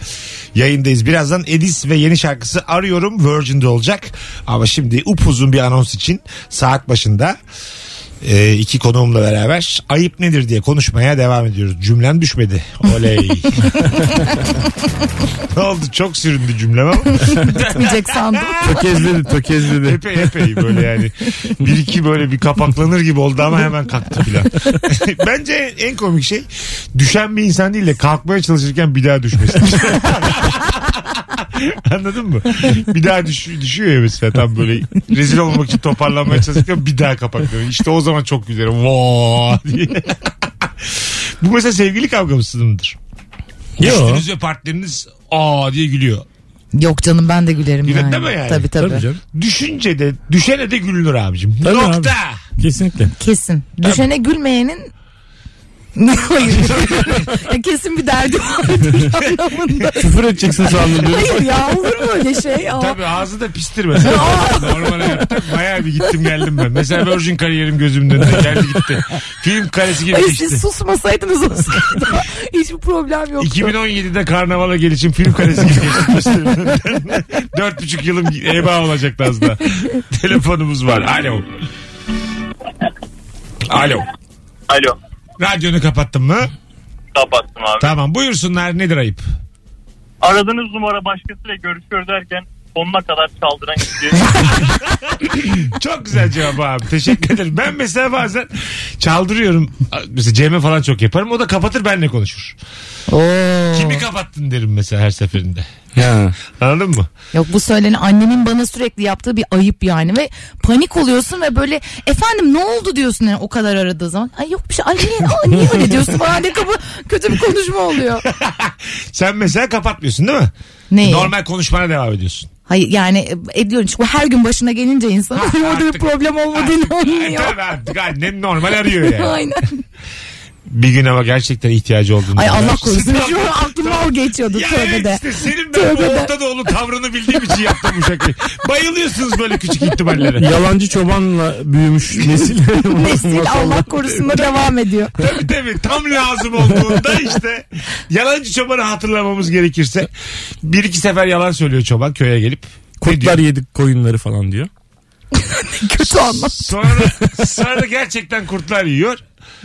S3: yayındayız. Birazdan Edis ve yeni şarkısı Arıyorum Virgin'de olacak. Ama şimdi upuzun bir anons için saat başında e, iki konuğumla beraber ayıp nedir diye konuşmaya devam ediyoruz. Cümlem düşmedi. Oley. <laughs> ne oldu? Çok süründü cümlem ama.
S4: Bitmeyecek sandım.
S5: Tökezledi tökezledi.
S3: Epey epey böyle yani. Bir iki böyle bir kapaklanır gibi oldu ama hemen kalktı filan. <laughs> Bence en komik şey düşen bir insan değil de kalkmaya çalışırken bir daha düşmesi. <laughs> Anladın mı? Bir daha düş, düşüyor ya mesela tam böyle rezil olmamak için toparlanmaya çalışırken bir daha kapaklanıyor. İşte o zaman çok güzel. Vaa diye. Bu mesela sevgili kavgamızdır mıdır?
S5: Yo.
S3: Üstünüz ve partneriniz aa diye gülüyor.
S4: Yok canım ben de gülerim
S3: Gülen
S4: yani.
S3: deme yani.
S4: Tabii tabii.
S5: Tabii canım.
S3: Düşünce de düşene de gülünür abicim.
S5: Tabii
S3: Nokta.
S5: Kesinlikle.
S4: Kesin. Düşene gülmeyenin Hayır. <laughs> Ya kesin bir derdi vardır <laughs> anlamında.
S5: Küfür edeceksin sandım. <laughs> diyor.
S4: Hayır ya olur mu öyle şey? Aa,
S3: Tabii ağzı da pistir mesela. Normal hayatta bayağı bir gittim geldim ben. Mesela Virgin kariyerim gözümün önünde geldi gitti. Film karesi gibi şey.
S4: Hayır
S3: geçti.
S4: siz susmasaydınız olsaydı <laughs> hiçbir problem yoktu.
S3: 2017'de karnavala gelişim film karesi gibi geçti. gözümün önünden. <laughs> Dört buçuk yılım eba olacaktı az da. Telefonumuz var. Alo. Alo.
S6: Alo.
S3: Radyonu kapattın mı?
S6: Kapattım abi.
S3: Tamam buyursunlar nedir ayıp?
S6: Aradığınız numara başkasıyla görüşüyor derken sonuna kadar
S7: <laughs>
S6: çaldıran kişi.
S3: Çok güzel cevap abi. Teşekkür ederim. Ben mesela bazen çaldırıyorum. Mesela Cem'e falan çok yaparım. O da kapatır benle konuşur. Kimi kapattın derim mesela her seferinde.
S5: Ha.
S3: Anladın mı?
S4: Yok bu söyleni annemin bana sürekli yaptığı bir ayıp yani ve panik oluyorsun ve böyle efendim ne oldu diyorsun yani o kadar aradığı zaman. Ay yok bir şey ay niye, aa, niye öyle diyorsun falan ne kapı kötü bir konuşma
S3: <laughs>
S4: oluyor.
S3: Sen mesela kapatmıyorsun değil mi?
S4: Neyi?
S3: Normal konuşmana devam ediyorsun.
S4: Hayır yani ediyorum çünkü her gün başına gelince insan <laughs> orada bir
S3: artık-
S4: problem olmadığını
S3: Ay,
S4: anlıyor.
S3: tabii artık annem normal arıyor yani.
S4: <laughs> Aynen.
S3: Bir gün ama gerçekten ihtiyacı olduğunu.
S4: Ay Allah
S3: anlarsın.
S4: korusun. Şu an aklıma o
S3: <laughs>
S4: geçiyordu
S3: Ya
S4: tövbe
S3: evet
S4: de.
S3: işte senin ben
S4: Tövbe de.
S3: Orta Doğulu tavrını bildiğim için yaptım bu şakayı. Bayılıyorsunuz böyle küçük
S4: <laughs>
S3: ihtimallere.
S5: Yalancı çobanla büyümüş <laughs> nesil.
S4: Nesil Allah korusun da devam ediyor.
S3: Tabii tabii tam lazım olduğunda işte yalancı çobanı hatırlamamız gerekirse bir iki sefer yalan söylüyor çoban köye gelip. Ne diyor?
S5: Kurtlar yedik koyunları falan diyor.
S4: Kötü anlam.
S3: Sonra, sonra da gerçekten kurtlar yiyor.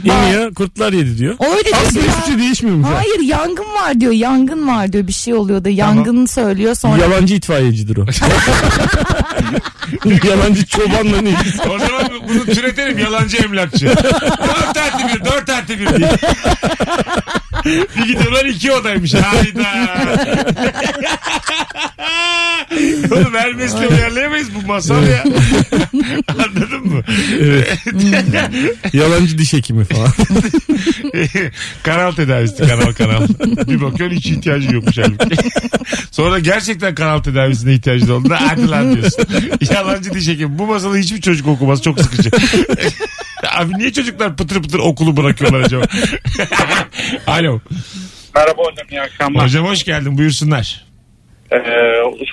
S5: İniyor kurtlar yedi diyor.
S4: O öyle
S5: Ama
S4: diyor.
S5: hiçbir şey değişmiyormuş. ha.
S4: Hayır yangın var diyor. Yangın var diyor. Bir şey oluyor da yangın söylüyor sonra.
S5: Yalancı itfaiyecidir o. Yalancı çobanla ne? ilgisi?
S3: O zaman bunu türetelim yalancı emlakçı. Dört artı bir, dört artı bir diye. bir gidiyorlar iki odaymış. Hayda. Oğlum Hermes'le uyarlayamayız bu masal ya. Anladın mı?
S5: Yalancı diş hekimi falan.
S3: <laughs> kanal tedavisi kanal kanal. Bir bakıyorsun hiç ihtiyacı yokmuş halbuki. <laughs> Sonra gerçekten kanal tedavisine ihtiyacı olduğunda hadi lan diyorsun. <laughs> Yalancı diş hekimi. Bu masalı hiçbir çocuk okumaz çok sıkıcı. <laughs> Abi niye çocuklar pıtır pıtır okulu bırakıyorlar acaba? <laughs> Alo.
S10: Merhaba hocam iyi akşamlar.
S3: Hocam hoş geldin buyursunlar.
S10: Ee,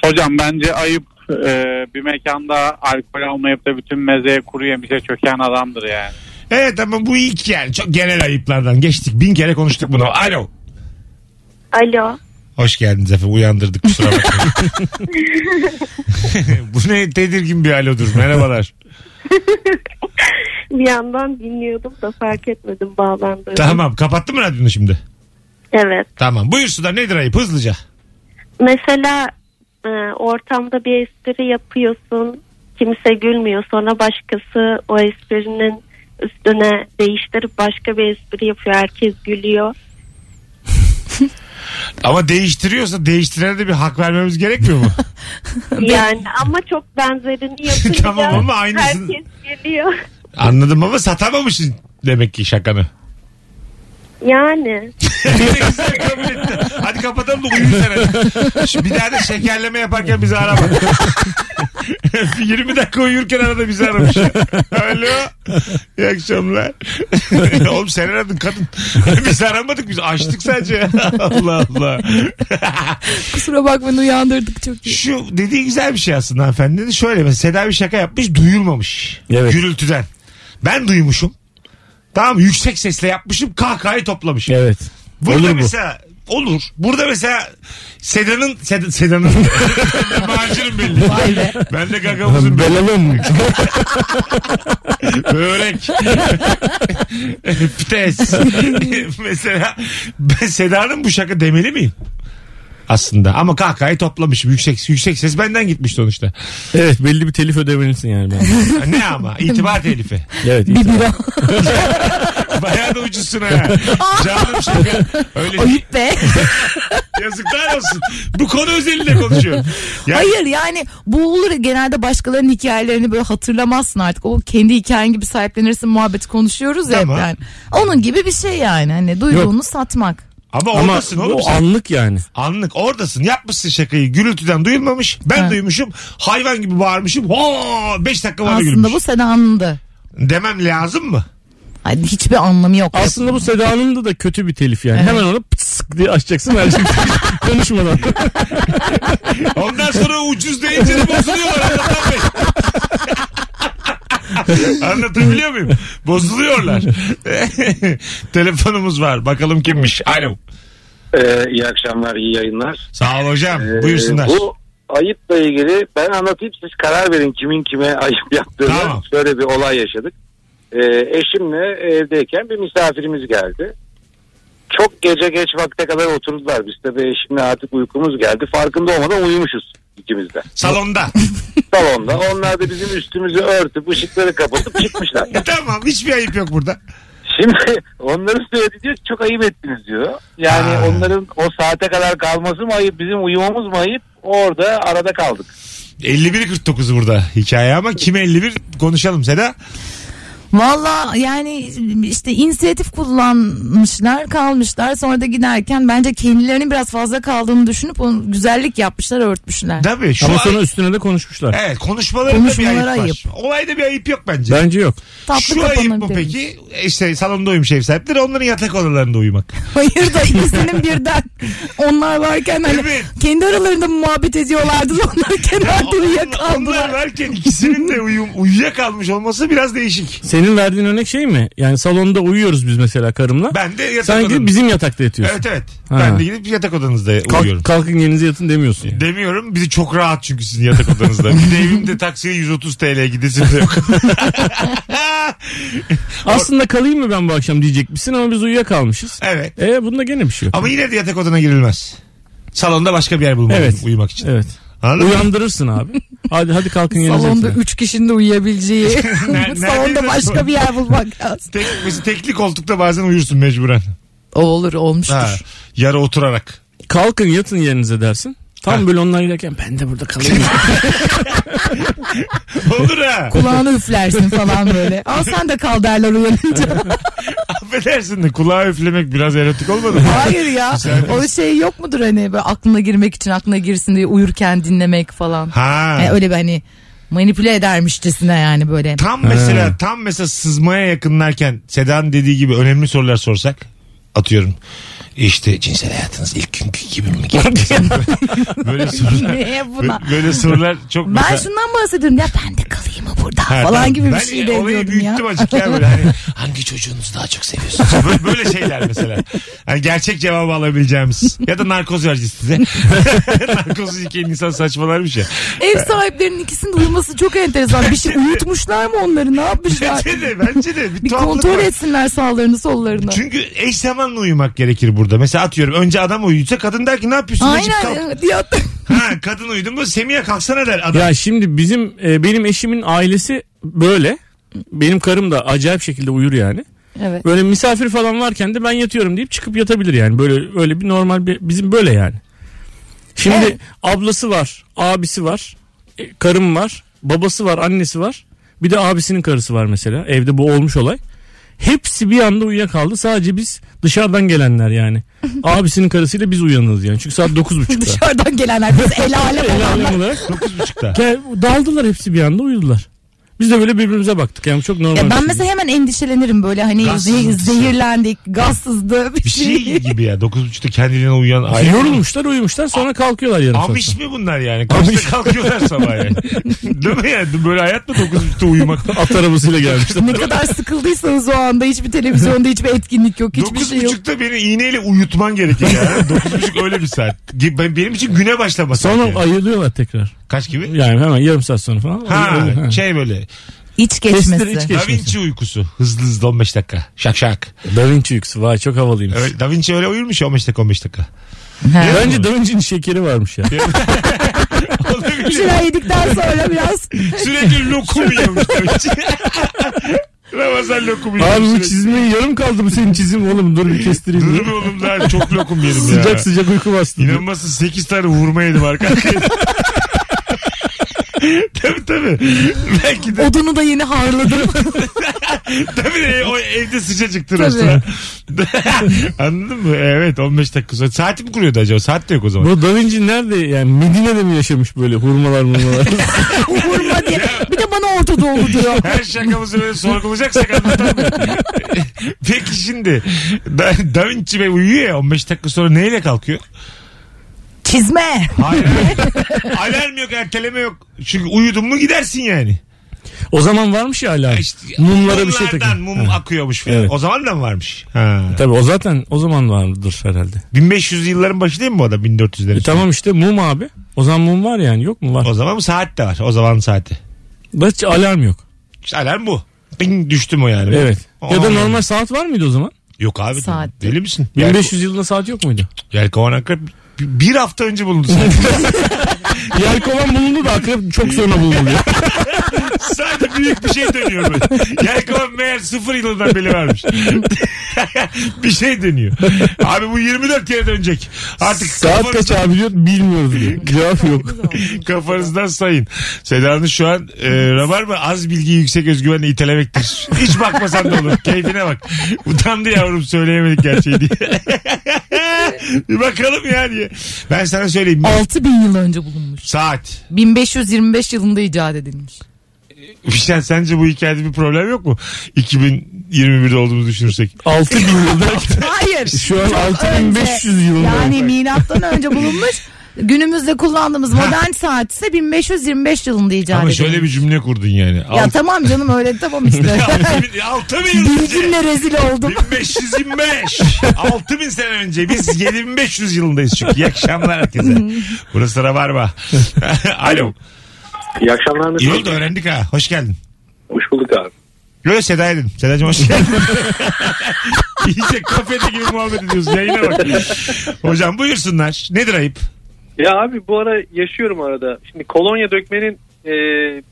S10: hocam bence ayıp e, bir mekanda alkol almayıp da bütün mezeye kuru yemişe çöken adamdır yani.
S3: Evet ama bu ilk yani çok genel ayıplardan geçtik. Bin kere konuştuk bunu. Alo.
S9: Alo.
S3: Hoş geldiniz efendim uyandırdık kusura bakmayın. <laughs> bu ne tedirgin bir alodur merhabalar.
S9: Bir yandan dinliyordum da fark etmedim bağlandığımı.
S3: Tamam kapattın mı radyonu şimdi?
S9: Evet.
S3: Tamam buyursunlar nedir ayıp hızlıca.
S9: Mesela e, ortamda bir espri yapıyorsun. Kimse gülmüyor. Sonra başkası o esprinin üstüne değiştirip başka bir espri yapıyor. Herkes
S3: <laughs>
S9: gülüyor.
S3: Ama değiştiriyorsa değiştirene de bir hak vermemiz gerekmiyor mu?
S9: Yani ama çok benzerini
S3: <laughs>
S9: yapınca
S3: Tamam ama aynısını-
S9: herkes gülüyor.
S3: <laughs>
S9: <laughs>
S3: Anladım ama satamamışsın demek ki <laughs> şakanı.
S9: Yani
S3: Ne güzel kabul ettin. Hadi kapatalım da uyuyun sen hadi. Şu Bir daha da şekerleme yaparken bizi arama. <laughs> 20 dakika uyurken arada bizi aramış. Alo. İyi akşamlar. <laughs> Oğlum sen aradın kadın. <laughs> Biz aramadık biz açtık sadece. <laughs> Allah Allah.
S4: Kusura bakmayın uyandırdık çok iyi.
S3: Şu dediği güzel bir şey aslında hanımefendi. Şöyle mesela Seda bir şaka yapmış duyulmamış.
S5: Evet.
S3: Gürültüden. Ben duymuşum. Tamam yüksek sesle yapmışım kahkahayı toplamışım.
S5: evet.
S3: Burada
S5: Olur bu.
S3: mesela olur. Burada mesela Seda'nın
S5: <laughs>
S3: Seda, Seda'nın macırım belli. Ben de gagamızın belli.
S5: Belalım. <laughs>
S3: Börek. Pites. mesela ben Seda'nın bu şaka demeli miyim? Aslında ama kahkahayı toplamışım. Yüksek, yüksek ses benden gitmiş sonuçta.
S5: evet belli bir telif ödemelisin yani. Ben.
S3: Ne ama itibar telifi.
S5: Evet.
S4: Bir bira.
S3: Bayağı da ucuzsun ha.
S4: Ah!
S3: Canım şaka. Öyle <laughs>
S4: Ayıp be.
S3: yazıklar olsun. Bu konu özelinde konuşuyorum. Yani-
S4: Hayır yani bu olur ya, genelde başkalarının hikayelerini böyle hatırlamazsın artık. O kendi hikayen gibi sahiplenirsin muhabbeti konuşuyoruz ya. hep
S3: Tamam.
S4: Yani. Onun gibi bir şey yani. Hani duyduğunu satmak.
S3: Ama
S5: Ama
S3: oradasın oğlum.
S5: bu
S3: sen.
S5: anlık yani.
S3: Anlık oradasın yapmışsın şakayı gürültüden duyulmamış ben
S4: Ha.
S3: duymuşum hayvan gibi bağırmışım ho 5 dakika bana
S4: Aslında
S3: gülmüş
S4: bu Seda'nın da.
S3: demem lazım mı?
S4: Hani hiçbir anlamı yok.
S5: Aslında bu Seda'nın da, da kötü bir telif yani. Hemen onu pıtsk diye açacaksın her şey <laughs> konuşmadan.
S3: Ondan sonra ucuz deyince de bozuluyorlar Anlatan
S4: <laughs>
S3: Bey. Anlatabiliyor muyum? Bozuluyorlar. <laughs> Telefonumuz var. Bakalım kimmiş? Alo.
S7: iyi akşamlar, iyi yayınlar.
S3: Sağ ol hocam.
S7: Ee,
S3: Buyursunlar.
S7: Bu ayıpla ilgili ben anlatayım siz karar verin kimin kime <laughs> ayıp yaptığını.
S3: Tamam.
S7: Şöyle bir olay yaşadık. Ee, eşimle evdeyken bir misafirimiz geldi. Çok gece geç vakte kadar oturdular. Biz tabii eşimle artık uykumuz geldi. Farkında olmadan uyumuşuz ikimiz de.
S3: Salonda. <laughs>
S7: Salonda. Onlar da bizim üstümüzü örtüp ışıkları kapatıp çıkmışlar.
S3: E, tamam. Hiçbir ayıp yok burada.
S7: Şimdi <laughs> onların söylediği diyor ki, çok ayıp ettiniz diyor. Yani
S3: Ha.
S7: onların o saate kadar kalması mı ayıp bizim uyumamız mı ayıp orada arada kaldık.
S3: 51-49 burada hikaye ama kim 51 konuşalım Seda.
S4: Valla yani işte inisiyatif kullanmışlar kalmışlar sonra da giderken bence kendilerinin biraz fazla kaldığını düşünüp onu güzellik yapmışlar örtmüşler.
S3: Tabii şu
S5: Ama
S3: an-
S5: sonra üstüne de konuşmuşlar.
S3: Evet konuşmalarında bir ayıp,
S4: Konuşmalara ayıp.
S3: var. Olayda bir ayıp yok bence.
S5: Bence yok.
S4: Tatlı
S3: Şu ayıp mı
S4: kapanabilir.
S3: peki? İşte salonda uyumuş ev sahipleri onların yatak odalarında
S4: <laughs>
S3: uyumak.
S4: Hayır da ikisinin birden onlar varken hani
S3: Evet.
S4: kendi aralarında muhabbet ediyorlardı <laughs> da onlar kenarda
S3: Onlar
S4: uyuyakaldılar.
S3: varken ikisinin de uyum, uyuyakalmış olması biraz değişik.
S5: Senin verdiğin örnek şey mi? Yani salonda uyuyoruz biz mesela karımla.
S3: Ben de yatak
S5: Sen gidip
S3: odanızda-
S5: bizim yatakta yatıyorsun.
S3: Evet evet.
S5: Ha.
S3: Ben de gidip yatak odanızda uyuyorum.
S5: Kalk, kalkın yerinize yatın demiyorsun. yani.
S3: Demiyorum. Bizi çok rahat çünkü sizin yatak odanızda. Bir de evimde taksiye 130 TL gidesin de
S5: <laughs>
S3: yok.
S5: Aslında kalayım mı ben bu akşam diyecek misin ama biz uyuyakalmışız.
S3: evet.
S5: E bunda gene bir şey yok.
S3: Ama yine de yatak odana girilmez. Salonda başka bir yer bulmalıyım
S5: Evet.
S3: uyumak için.
S5: Evet.
S3: Anladın mı?
S5: Uyandırırsın abi. Hadi hadi <laughs> kalkın yerinize
S4: Salonda
S5: yatın.
S4: 3 kişinin de uyuyabileceği. <laughs>
S3: Neredeyse
S4: Salonda başka bir yer bulmak lazım.
S3: Tek, mesela tekli koltukta bazen uyursun mecburen.
S4: O olur
S3: Ha,
S4: olmuştur.
S3: yarı oturarak.
S5: Kalkın yatın yerinize dersin. Tam böyle onlar giderken ben de burada kalayım.
S3: Olur ha.
S4: Kulağını üflersin falan
S3: <laughs>
S4: böyle. Al sen de kal derler uyanınca.
S3: Affedersin de kulağa üflemek biraz erotik olmadı mı?
S4: <laughs> Hayır ya. o şey yok mudur hani böyle aklına girmek için aklına girsin diye uyurken dinlemek falan.
S3: Ha.
S4: Yani öyle bir hani manipüle edermişçesine yani böyle.
S3: Tam mesela tam mesela sızmaya yakınlarken Seda'nın dediği gibi önemli sorular sorsak atıyorum. İşte cinsel hayatınız ilk günkü gibi mi? böyle sorular.
S4: <laughs> Neye buna?
S3: bö- Böyle sorular çok
S4: Ben
S3: mesela-
S4: şundan bahsediyorum ya ben de kalayım mı burada
S3: Ha,
S4: falan
S3: tamam.
S4: gibi bir
S3: Ben
S4: şey
S3: olayı
S4: demiyordum ya.
S3: büyüttüm azıcık ya böyle hani
S1: Hangi çocuğunuzu daha
S3: <laughs>
S1: çok seviyorsunuz?
S3: Böyle- Böyle şeyler mesela. Hani gerçek cevabı alabileceğimiz. Ya da narkoz vereceğiz size. <laughs> Narkoz iken insan saçmalarmış ya.
S4: <laughs> Ev sahiplerinin ikisinin uyuması çok enteresan.
S3: <laughs>
S4: Bir şey uyutmuşlar mı onları ne yapmışlar?
S3: Bence de bence de. Bir,
S4: Bir
S3: tuhaflık
S4: kontrol
S3: var.
S4: etsinler sağlarını sollarını.
S3: Çünkü eş zamanlı uyumak gerekir burada. Mesela atıyorum önce adam uyuyunca kadın der ki ne yapıyorsun? Aynen.
S4: Aynen evet, ya.
S3: Ha, kadın uyudun mu Semih'e kalksana der adam.
S5: ya şimdi bizim e, benim eşimin ailesi böyle. Benim karım da acayip şekilde uyur yani.
S4: <laughs> Evet.
S5: Böyle misafir falan varken de ben yatıyorum deyip çıkıp yatabilir yani. Böyle öyle bir normal bir bizim böyle yani. Şimdi
S4: Evet.
S5: ablası var, abisi var, e, karım var, babası var, annesi var. Bir de abisinin karısı var mesela. Evde bu olmuş olay. Hepsi bir anda uyuyakaldı. Sadece biz dışarıdan gelenler
S4: <laughs>
S5: yani. Abisinin karısıyla biz uyanırız yani. Çünkü saat <laughs> 9.30'da.
S4: Dışarıdan gelenler biz el alem
S5: El alem olarak
S3: 9.30'da.
S5: Gel- daldılar hepsi bir anda uyudular. Biz de böyle birbirimize baktık yani çok normal.
S4: Ya
S5: bir
S4: ben
S5: şey.
S4: mesela hemen endişelenirim böyle hani
S3: Gazsız
S4: ze-
S3: mısın?
S4: zehirlendik, gazsızdı bir
S3: Bir şey
S4: şey.
S3: gibi ya 9.30'da kendiliğine uyuyan
S5: Ay,
S3: aile.
S5: Yorulmuşlar uyumuşlar sonra kalkıyorlar yarım saat.
S3: Amiş mi bunlar yani? Kaçta kalkıyorlar
S5: <laughs>
S3: sabah yani? Değil mi yani? Böyle hayat mı 9.30'da uyumak?
S5: sonra. <laughs> At arabasıyla gelmişler.
S4: ne kadar sıkıldıysanız o anda hiçbir televizyonda hiçbir etkinlik yok, hiçbir
S3: Dokuz
S4: şey yok.
S3: buçukta beni iğneyle uyutman gerekir
S5: <laughs>
S3: yani. Dokuz buçuk öyle bir saat. Ge- ben- Benim için güne başlama saat.
S5: <laughs> Sonra
S3: yani.
S5: ayılıyorlar tekrar.
S3: Kaç gibi?
S5: Yani hemen yarım saat sonra falan.
S3: Ha
S5: Ayılıyor. Ha.
S3: şey böyle.
S4: İç
S5: Kestir,
S4: geçmesi.
S5: iç
S3: Da
S5: geçmesi.
S3: Vinci uykusu. Hızlı hızlı 15 dakika. Şak şak.
S5: Da Vinci yüksü vay çok havalıymış.
S3: Öyle, da Vinci öyle uyurmuş ya 15 dakika
S5: <laughs>
S3: 15 dakika.
S4: Ha.
S5: Bence Da Vinci'nin şekeri varmış
S3: <laughs>
S5: ya.
S4: Bir
S3: Olabilir.
S4: şeyler yedikten sonra biraz
S3: Sürekli lokum yiyormuş Da Vinci.
S5: <laughs>
S3: Ramazan lokum
S5: Abi bu
S3: yiyormuş. sürekli.
S5: çizmeyi yarım kaldı bu senin çizim oğlum dur bir kestireyim.
S3: Dur
S5: diye.
S3: be oğlum daha çok lokum yedim ya.
S5: Sıcak sıcak uyku bastı.
S3: İnanmazsın 8 tane vurma
S5: <laughs>
S3: yedim arkadaşlar. tabii tabii. Belki de
S4: <laughs> odunu da yeni <laughs> harladım.
S5: <laughs>
S3: Tabii de o evde sıcacıktır
S4: Tabii.
S3: aslında. <laughs> Anladın mı? Evet 15 dakika sonra. Saati mi kuruyordu acaba? Saat de yok o zaman.
S5: Bu Da Vinci nerede yani Medine'de mi yaşamış böyle hurmalar murmalar? <laughs>
S4: Vurma diye. Bir de bana Orta Doğulu diyor.
S3: Her şakamızı böyle
S5: <laughs>
S3: sorgulayacaksak anlatan mı? Peki şimdi da, da Vinci Bey uyuyor ya 15 dakika sonra neyle kalkıyor?
S4: Çizme.
S3: Hayır. Alarm yok, erteleme yok. Çünkü uyudun mu gidersin yani.
S5: o zaman varmış ya hala.
S3: İşte
S5: Mumlara bir şey
S3: mumlardan
S5: takın.
S3: mum
S5: Ha.
S3: akıyormuş falan.
S5: Evet.
S3: O zaman da mı varmış? Ha.
S5: Tabii o zaten o zaman vardır herhalde.
S3: 1500 yılların başı değil mi bu adam? 1400'lerin.
S5: E tamam işte mum abi. O zaman mum var yani yok mu var?
S3: O zaman saat de var. O zaman saati.
S5: Da Hiç alarm yok.
S3: İşte alarm bu. Ding düştüm o yani.
S5: Evet. Ya da
S3: Aa.
S5: normal saat var mıydı o zaman?
S3: Yok abi.
S4: Saat.
S3: Deli misin?
S5: 1500 yılında saat yok muydu?
S3: <laughs> Yel- Yelkovan akrep bir hafta önce bulundu sadece.
S5: Yelkovan bulundu da akrep çok sonra bulundu. ya.
S3: sadece büyük bir şey dönüyor böyle. Yelkovan meğer sıfır yılından beri varmış. <laughs> bir şey dönüyor. Abi bu 24 kere dönecek. <laughs> Artık
S5: Saat kaç
S3: kafanızdan,
S5: abi diyor bilmiyoruz
S3: <laughs>
S5: diyor. Cevap yok.
S3: kafanızdan sayın. Seda'nın şu an e, rabarba az bilgiyi yüksek özgüvenle itelemektir. Hiç bakmasan da olur. Keyfine bak. Utandı yavrum söyleyemedik gerçeği diye. <laughs> bir bakalım ya diye. Ben sana söyleyeyim.
S4: 6000 yıl önce bulunmuş.
S3: Saat.
S4: 1525 yılında icat edilmiş.
S3: <laughs> Sen şey, sence bu hikayede bir problem yok mu? 2021'de olduğumuzu düşünürsek.
S5: 6000 yılda.
S3: <laughs>
S4: Hayır.
S5: Şu an
S4: Çok
S5: 6500
S4: önce,
S5: yılında.
S4: Yani milattan önce bulunmuş. Günümüzde kullandığımız modern saat ise 1525 yılında icat
S3: Ama
S4: edilmiş.
S3: şöyle bir cümle kurdun yani.
S4: Ya tamam canım öyle
S3: <laughs>
S4: tamam işte.
S3: 6000 yıl önce.
S4: Bilgimle rezil oldum.
S3: 1525. 6000 sene önce. Biz 7500 yılındayız çünkü. İyi akşamlar herkese. Burası Rabarba. <laughs> Alo.
S7: İyi akşamlar.
S3: İyi oldu öğrendik ha. Hoş geldin.
S7: Hoş bulduk abi.
S3: Böyle Seda'ydın. Seda'cığım hoş geldin. <laughs> İyice kafede gibi muhabbet ediyoruz. Yayına bak. Hocam buyursunlar. Nedir ayıp?
S11: Ya abi bu ara yaşıyorum arada. Şimdi kolonya dökmenin e,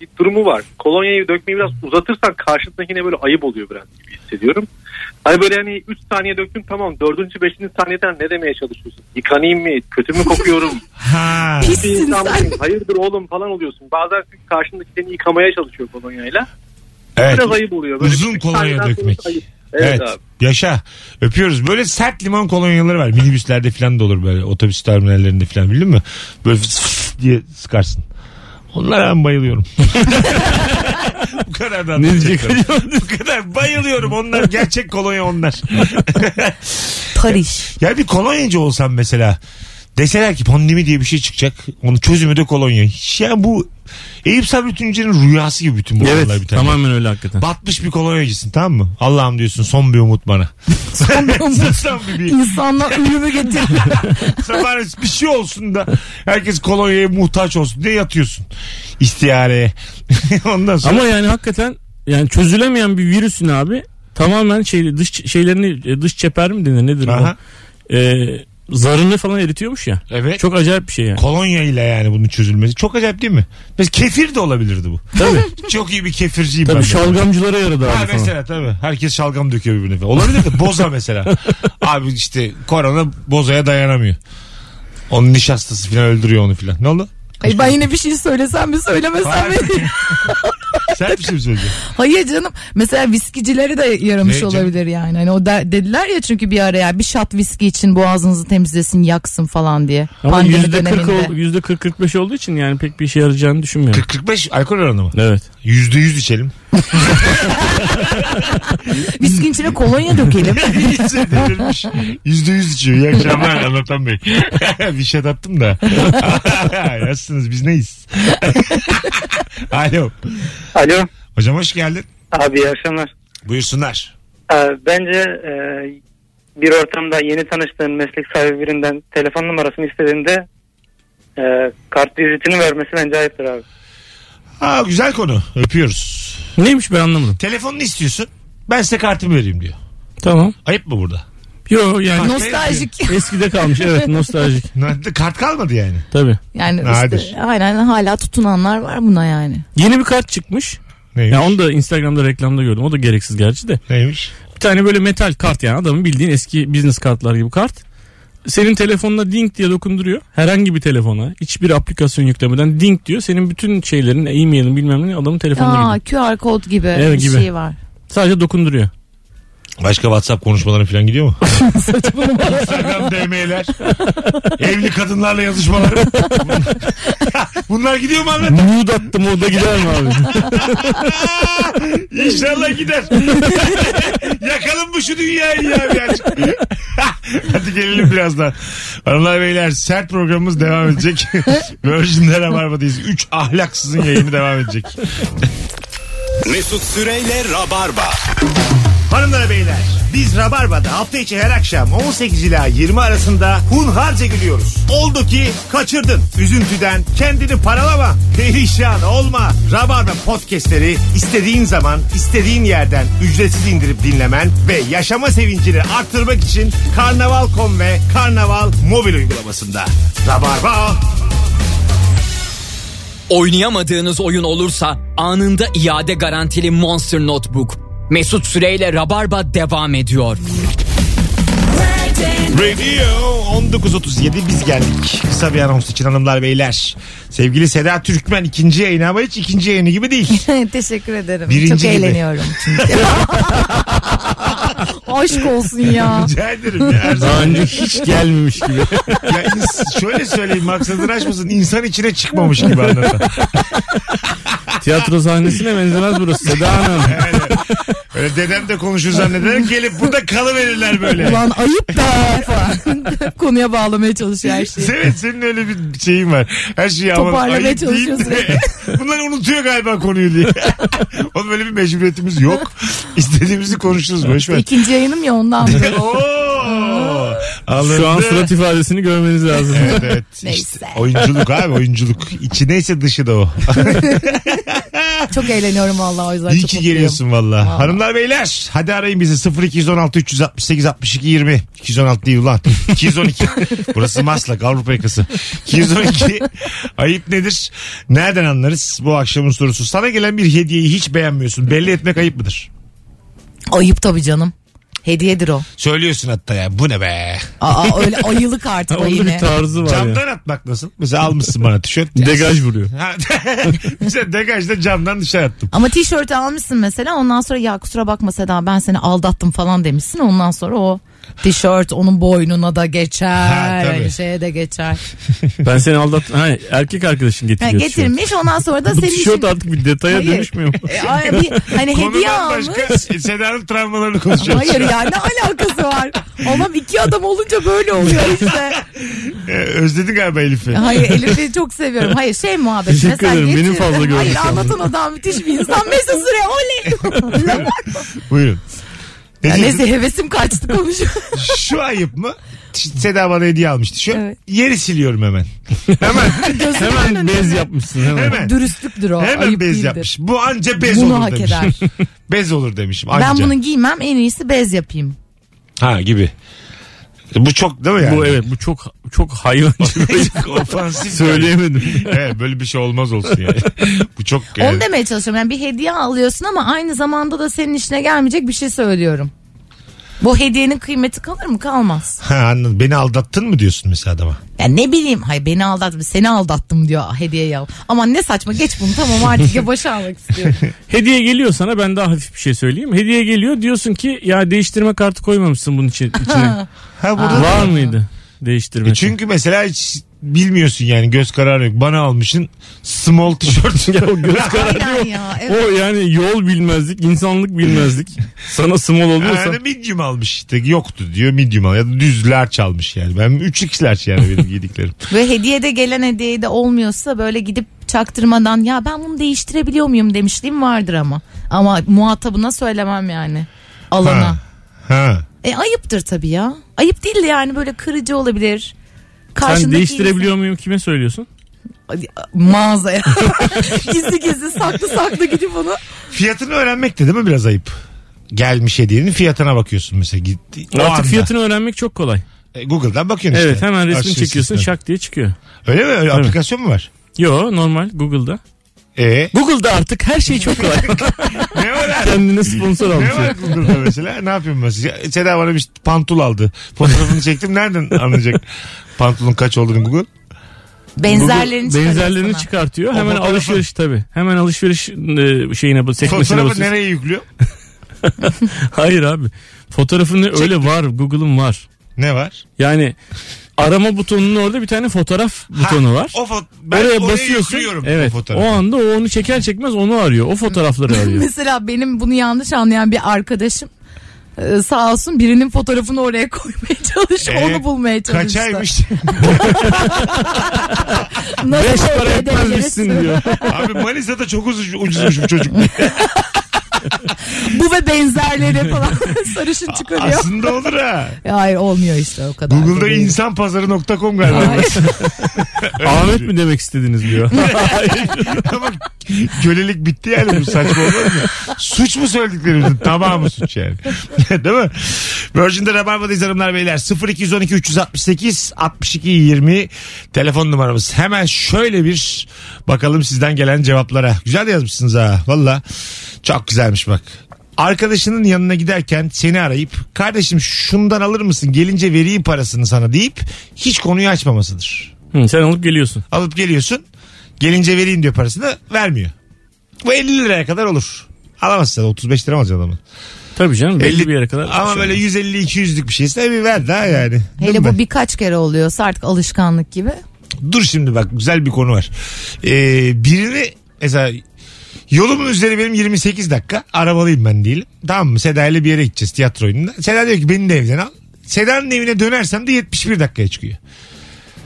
S11: bir durumu var. Kolonyayı dökmeyi biraz uzatırsan karşıdakine böyle ayıp oluyor biraz gibi hissediyorum. Hani böyle hani 3 saniye döktüm tamam 4. 5. saniyeden ne demeye çalışıyorsun? Yıkanayım mı? Kötü mü kokuyorum?
S3: Ha.
S11: Bir insan mısın? Hayırdır oğlum falan oluyorsun. Bazen çünkü karşındaki seni yıkamaya çalışıyor kolonyayla.
S3: Evet.
S11: Biraz ayıp oluyor. Böyle
S3: Uzun
S11: bir
S3: kolonya
S11: saniyeden
S3: dökmek.
S11: sonra ayıp.
S3: Evet.
S11: Evet, abi.
S3: Yaşa. Öpüyoruz. Böyle sert limon kolonyaları var. Minibüslerde falan da olur böyle. Otobüs terminallerinde falan bildin mi? Böyle fıs fıs diye sıkarsın. Onlara ben bayılıyorum. <laughs> Bu kadar da
S5: Ne diyecek
S3: anlatacaklarım. Bu kadar bayılıyorum. Onlar gerçek kolonya onlar.
S4: Tarih.
S3: ya bir kolonyacı olsam mesela deseler ki pandemi diye bir şey çıkacak. Onun çözümü de kolonya. Hiç ya bu Eyüp Sabri Tüncer'in rüyası gibi bütün bu olaylar bir
S5: Evet
S3: tane.
S5: tamamen öyle hakikaten.
S3: Batmış bir kolonyacısın tamam mı? Allah'ım diyorsun son bir umut bana. <laughs> son bir umut. son bir,
S4: İnsanlar ölümü getirdi.
S3: sabah bir şey olsun da herkes kolonyaya muhtaç olsun diye yatıyorsun. İstihareye. <laughs> Ondan sonra
S5: Ama yani hakikaten yani çözülemeyen bir virüsün abi tamamen şey dış şeylerini e, dış çeper mi denir nedir
S3: Aha.
S5: o? Ee, zarını falan eritiyormuş ya.
S3: Evet.
S5: Çok acayip bir şey yani.
S3: kolonya ile yani bunun çözülmesi. Çok acayip değil mi? Mesela kefir de olabilirdi bu. Tabii. <laughs> Çok iyi bir kefirciyim ben.
S5: Tabii
S3: de.
S5: şalgamcılara yaradı
S3: Ha
S5: abi falan.
S3: mesela tabii. Herkes şalgam döküyor birbirine. falan. Olabilir de boza mesela. Abi işte korona bozaya dayanamıyor. Onun nişastası falan öldürüyor onu falan. Ne oldu?
S4: Ay ben yine bir şey söylesem mi söylemesem mi?
S3: Hayır. Sen bir şey mi söyleyeceksin?
S4: Hayır canım. Mesela viskicileri de
S3: Ne
S4: yaramış
S3: canım?
S4: olabilir yani. Hani o da, dediler ya çünkü bir ara ya bir şat viski için boğazınızı temizlesin, yaksın falan diye.
S5: Ama
S4: Pandemi
S5: yüzde
S4: döneminde.
S5: %40
S4: <laughs>
S5: yüzde 40-45 olduğu için yani pek bir işe yarayacağını düşünmüyorum.
S3: 40-45 alkol oranı mı?
S5: Evet.
S3: %100 içelim.
S4: Viskinin içine kolonya dökelim.
S3: İyice delirmiş. Yüzde yüz içiyor. İyi akşamlar <laughs> Anlatan Bey. bir şey attım da. <laughs> Nasılsınız biz neyiz? <laughs> Alo.
S8: Alo
S3: Hocam hoş geldin.
S8: abi iyi akşamlar.
S3: Buyursunlar.
S8: Ee, Bence e, bir ortamda yeni tanıştığın meslek sahibi birinden telefon numarasını istediğinde e, kart vizitini vermesi bence ayıptır abi.
S3: Aa, güzel konu. Öpüyoruz.
S5: Neymiş ben anlamadım.
S3: Telefonunu istiyorsun. Ben size kartımı vereyim diyor.
S5: Tamam.
S3: Ayıp mı burada?
S5: Yo yani <laughs>
S4: Nostaljik.
S5: eskide kalmış evet nostaljik.
S3: Kart kalmadı yani.
S5: Tabii.
S4: Yani
S3: Nadir.
S4: işte aynen hala tutunanlar var buna yani.
S5: Yeni bir kart çıkmış.
S3: Neymiş?
S5: Ya onu da Instagram'da reklamda gördüm. O da gereksiz gerçi de.
S3: Neymiş?
S5: Bir tane böyle metal kart yani adamın bildiğin eski business kartlar gibi kart. Senin telefonuna ding diye dokunduruyor. Herhangi bir telefona hiçbir aplikasyon yüklemeden ding diyor. Senin bütün şeylerin e-mailin bilmem ne adamın telefonuna
S4: Aa
S5: gidiyor.
S4: QR kod gibi
S5: Evet,
S4: bir
S5: gibi.
S4: şey var.
S5: Sadece dokunduruyor.
S3: Başka WhatsApp konuşmaları falan gidiyor mu? Instagram DM'ler. Evli kadınlarla yazışmalar. Bunlar gidiyor mu anlat?
S5: Nude attım orada gider mi abi?
S3: İnşallah gider. <laughs> Yakalım bu şu dünyayı ya bir açık. <laughs> Hadi gelelim birazdan. Hanımlar beyler sert programımız devam edecek. <laughs> Virgin'de Rabarba'dayız. 3 ahlaksızın yayını devam edecek.
S2: Mesut Süreyle Rabarba.
S12: Hanımlar beyler biz Rabarba'da hafta içi her akşam 18 ila 20 arasında hunharca gülüyoruz. Oldu ki kaçırdın. Üzüntüden kendini paralama. Perişan olma. Rabarba podcastleri istediğin zaman istediğin yerden ücretsiz indirip dinlemen ve yaşama sevincini arttırmak için Karnaval.com ve Karnaval mobil uygulamasında. Rabarba
S13: Oynayamadığınız oyun olursa anında iade garantili Monster Notebook. Mesut Süreyle Rabarba devam ediyor.
S3: Radio 19.37 biz geldik. Kısa bir anons için hanımlar beyler. Sevgili Seda Türkmen ikinci yayını ama hiç ikinci yayını gibi değil. <laughs>
S4: Teşekkür ederim.
S3: Birinci
S4: Çok
S3: gibi.
S4: eğleniyorum çünkü. Aşk olsun ya.
S3: Rica ederim. ya, her zaman.
S5: Daha önce hiç gelmemiş <laughs> gibi.
S3: Ya ins- şöyle söyleyeyim maksadını aşmasın insan içine çıkmamış gibi anlatan.
S5: Tiyatro sahnesine benzemez burası Seda Hanım.
S3: Yani, öyle dedem de konuşur zannederek gelip burada kalıverirler böyle.
S4: Ulan ayıp be <laughs> falan. Konuya bağlamaya çalışıyor her şeyi.
S3: Evet senin öyle bir şeyin var. Her şeyi ama ayıp
S4: Toparlamaya
S3: değil
S4: çalışıyor
S3: de. <laughs> Bunlar unutuyor galiba konuyu diye. <laughs> Oğlum öyle bir mecburiyetimiz yok. İstediğimizi konuşuruz. Boş ver.
S4: İkinci yayınım ya ondan.
S3: Oo!
S5: Şu an surat ifadesini görmeniz lazım. <laughs>
S3: Evet evet. İşte oyunculuk abi oyunculuk. İçi neyse dışı da o.
S4: Çok eğleniyorum vallahi o yüzden
S3: İyi
S4: çok
S3: ki
S4: mutluyum.
S3: geliyorsun valla.
S4: Vallahi.
S3: Hanımlar beyler hadi arayın bizi 0216 368 62 20. 216 değil ulan. <laughs> 212. Burası Maslak Avrupa yakası.
S4: <laughs>
S3: 212. ayıp nedir? Nereden anlarız bu akşamın sorusu? Sana gelen bir hediyeyi hiç beğenmiyorsun. Belli etmek ayıp mıdır?
S4: Ayıp tabii canım. Hediyedir o.
S3: Söylüyorsun hatta ya bu ne be.
S4: Aa öyle ayılık artık o yine.
S3: Camdan atmak nasıl? Mesela almışsın bana
S4: <laughs>
S3: tişört.
S5: Degaj vuruyor.
S3: Ha, <laughs> Mesela degajda camdan dışarı attım.
S4: Ama tişörtü almışsın mesela ondan sonra ya kusura bakma Seda ben seni aldattım falan demişsin ondan sonra o tişört onun boynuna da
S5: Ha,
S4: geçer
S5: tabii.
S4: hani şeye de geçer.
S5: Ben seni aldat... Ha, erkek arkadaşın
S4: Ha,
S5: getiriyor. şu an.
S4: getirmiş ondan sonra da
S5: Bu
S4: senin
S5: tişört
S4: için
S5: artık bir detaya
S4: Hayır.
S5: dönüşmüyor
S4: <laughs>
S5: mu?
S4: E, ay, bir- hani hediye
S3: Konudan
S4: almış.
S3: başka Seda'nın travmalarını konuşuyoruz.
S4: Hayır ya ne alakası var? Oğlum iki adam olunca böyle oluyor işte.
S3: Ee, Özledin galiba Elif'i.
S4: Hayır Elif'i çok seviyorum. Hayır şey muhabbeti.
S3: Teşekkür
S4: mesela
S3: ederim, benim
S4: getir.
S3: fazla şey. gördüm
S4: Hayır
S3: şu anda.
S4: anlatan adam müthiş bir insan. Mesut Süre
S3: <laughs>
S4: oley.
S3: Buyurun.
S4: Ya
S3: Ne
S4: Neyse
S3: diyordun?
S4: hevesim kaçtı konuşuyor.
S3: <laughs> Şu ayıp mı? Ş- Seda bana hediye almış tişört. Yeri siliyorum hemen.
S4: <laughs>
S5: Hemen bez yapmışsın hemen.
S3: Hemen.
S4: Dürüstlüktür o.
S3: Hemen
S4: ayıp
S3: bez
S4: değildir.
S3: yapmış. Bu anca bez
S4: Bunu
S3: olur
S4: hak
S3: demişim.
S4: eder.
S3: bez olur demişim. <laughs> Anca.
S4: Ben bunu giymem en iyisi bez yapayım.
S3: Ha gibi. Bu çok değil mi yani?
S5: Bu evet bu çok çok hayvancı. bir-
S3: <laughs> Çok ofansif.
S5: Söyleyemedim.
S3: <laughs> evet, böyle bir şey olmaz olsun <laughs> yani. Bu çok...
S4: Onu
S3: e,
S4: demeye çalışıyorum. Yani bir hediye alıyorsun ama aynı zamanda da senin işine gelmeyecek bir şey söylüyorum. Bu hediyenin kıymeti kalır mı? Kalmaz.
S3: Ha, anladım. Beni aldattın mı diyorsun mesela adama?
S4: Ya ne bileyim. Hayır beni aldattım. Seni aldattım diyor hediye al. Ama ne saçma geç bunu tamam artık ya başa almak istiyorum.
S5: Hediye geliyor sana ben daha hafif bir şey söyleyeyim. Hediye geliyor diyorsun ki ya değiştirme kartı koymamışsın
S4: <laughs>
S5: bunun için, içine.
S3: Ha, burada
S5: Var mıydı değiştirme?
S3: E çünkü mesela hiç bilmiyorsun yani göz kararı yok. Bana almışın small tişört.
S5: <laughs> Ya o göz kararı
S4: Aynen
S5: yok.
S4: <laughs> ya. Evet.
S5: O yani yol bilmezlik, insanlık bilmezlik. Sana small oluyorsa.
S3: Yani medium almış işte yoktu diyor medium al ya da düz large almış yani. Ben 3x large yani benim
S5: <laughs>
S3: giydiklerim.
S4: Ve hediye de gelen hediye de olmuyorsa böyle gidip çaktırmadan ya ben bunu değiştirebiliyor muyum demişliğim vardır ama. Ama muhatabına söylemem yani. Alana.
S3: Ha. Ha.
S4: E ayıptır tabii ya. Ayıp değil de yani böyle kırıcı olabilir.
S5: Sen
S4: Karşındaki
S5: değiştirebiliyor muyum kime söylüyorsun?
S4: insan- Mağazaya. <laughs> gizli gizli saklı saklı gidip onu.
S3: Fiyatını öğrenmek de değil mi biraz ayıp? Gelmiş hediyenin fiyatına bakıyorsun mesela gitti. O
S5: Artık
S3: anda.
S5: fiyatını öğrenmek çok kolay.
S3: E, Google'dan bakıyorsun
S5: Evet
S3: işte.
S5: hemen resmini
S3: Arşiv
S5: çekiyorsun
S3: sistemi.
S5: şak diye çıkıyor.
S3: Öyle mi? Öyle
S5: Tabii.
S3: aplikasyon mu var?
S5: Yo normal Google'da.
S3: E,
S5: Google'da artık her şey çok kolay.
S3: ne var abi?
S5: <laughs> Kendine sponsor
S3: Ne var
S5: almış.
S3: Google'da mesela? Ne yapıyorum mesela? E, Seda bana bir pantul aldı. Fotoğrafını çektim. Nereden anlayacak pantulun kaç olduğunu Google?
S4: Benzerlerini
S5: Google
S4: çıkarıyor
S5: benzerlerini
S4: sana.
S5: çıkartıyor.
S3: O
S5: Hemen
S3: fotoğrafı-
S5: alışveriş tabii. Hemen alışveriş e, şeyine bas- sekmesine
S3: Fotoğrafı
S5: basıyorsun.
S3: nereye yüklüyor?
S5: <laughs> Hayır abi. Fotoğrafını öyle var. Google'ın var.
S3: Ne var?
S5: Yani arama butonunun orada bir tane fotoğraf butonu var.
S3: O foto- ben
S5: Oraya basıyorsun.
S3: yüklüyorum
S5: Evet.
S3: o
S5: O,
S3: fotoğrafı.
S5: anda o onu çeker çekmez onu arıyor. O fotoğrafları
S4: <laughs>
S5: arıyor.
S4: Mesela benim bunu yanlış anlayan bir arkadaşım e, sağ olsun birinin fotoğrafını oraya koymaya <laughs> çalışıp
S5: E,
S3: Ee,
S4: onu bulmaya çalıştı.
S3: Kaçaymış.
S4: Nasıl
S5: Beş para
S4: elde edebiliriz?
S5: etmezmişsin diyor.
S3: <laughs> Abi Manisa'da çok ucuz, ucuzmuş bu çocuk.
S4: Bu ve benzerleri falan <laughs> sarışın çıkarıyor.
S3: Aslında olur ha.
S4: Hayır olmuyor işte o kadar. da
S3: Google'da
S4: değil.
S3: insanpazarı.com <laughs> galiba.
S5: Ahmet mi demek istediniz
S3: <laughs>
S5: diyor. <laughs>
S3: Ama kölelik bitti yani bu saçma olur mu? Suç mu söylediklerimizin tamamı suç yani. <laughs> Değil mi? Virgin'de Rabarba'dayız hanımlar beyler. 0212 368 62 20 telefon numaramız. Hemen şöyle bir bakalım sizden gelen cevaplara. Güzel de yazmışsınız ha valla. Çok güzelmiş bak. Arkadaşının yanına giderken seni arayıp kardeşim şundan alır mısın gelince vereyim parasını sana deyip hiç konuyu açmamasıdır
S5: Hı, sen alıp geliyorsun.
S3: alıp geliyorsun. Gelince vereyim diyor parasını vermiyor. Bu 50 liraya kadar olur. Alamazsın sen 35 lira mı alacaksın adamı.
S5: Tabii canım belli
S3: 50
S5: bir yere kadar. şey
S3: Ama böyle 150-200'lük bir şeyse bir ver daha yani. Değil
S4: Hele
S3: mi?
S4: bu birkaç kere oluyorsa artık alışkanlık gibi.
S3: Dur şimdi bak güzel bir konu var. Ee, birini mesela yolumun üzeri benim 28 dakika arabalıyım ben diyelim. Tamam mı Seda ile bir yere gideceğiz tiyatro oyununda. Seda diyor ki beni de evden al. Seda'nın evine dönersem de 71 dakikaya çıkıyor.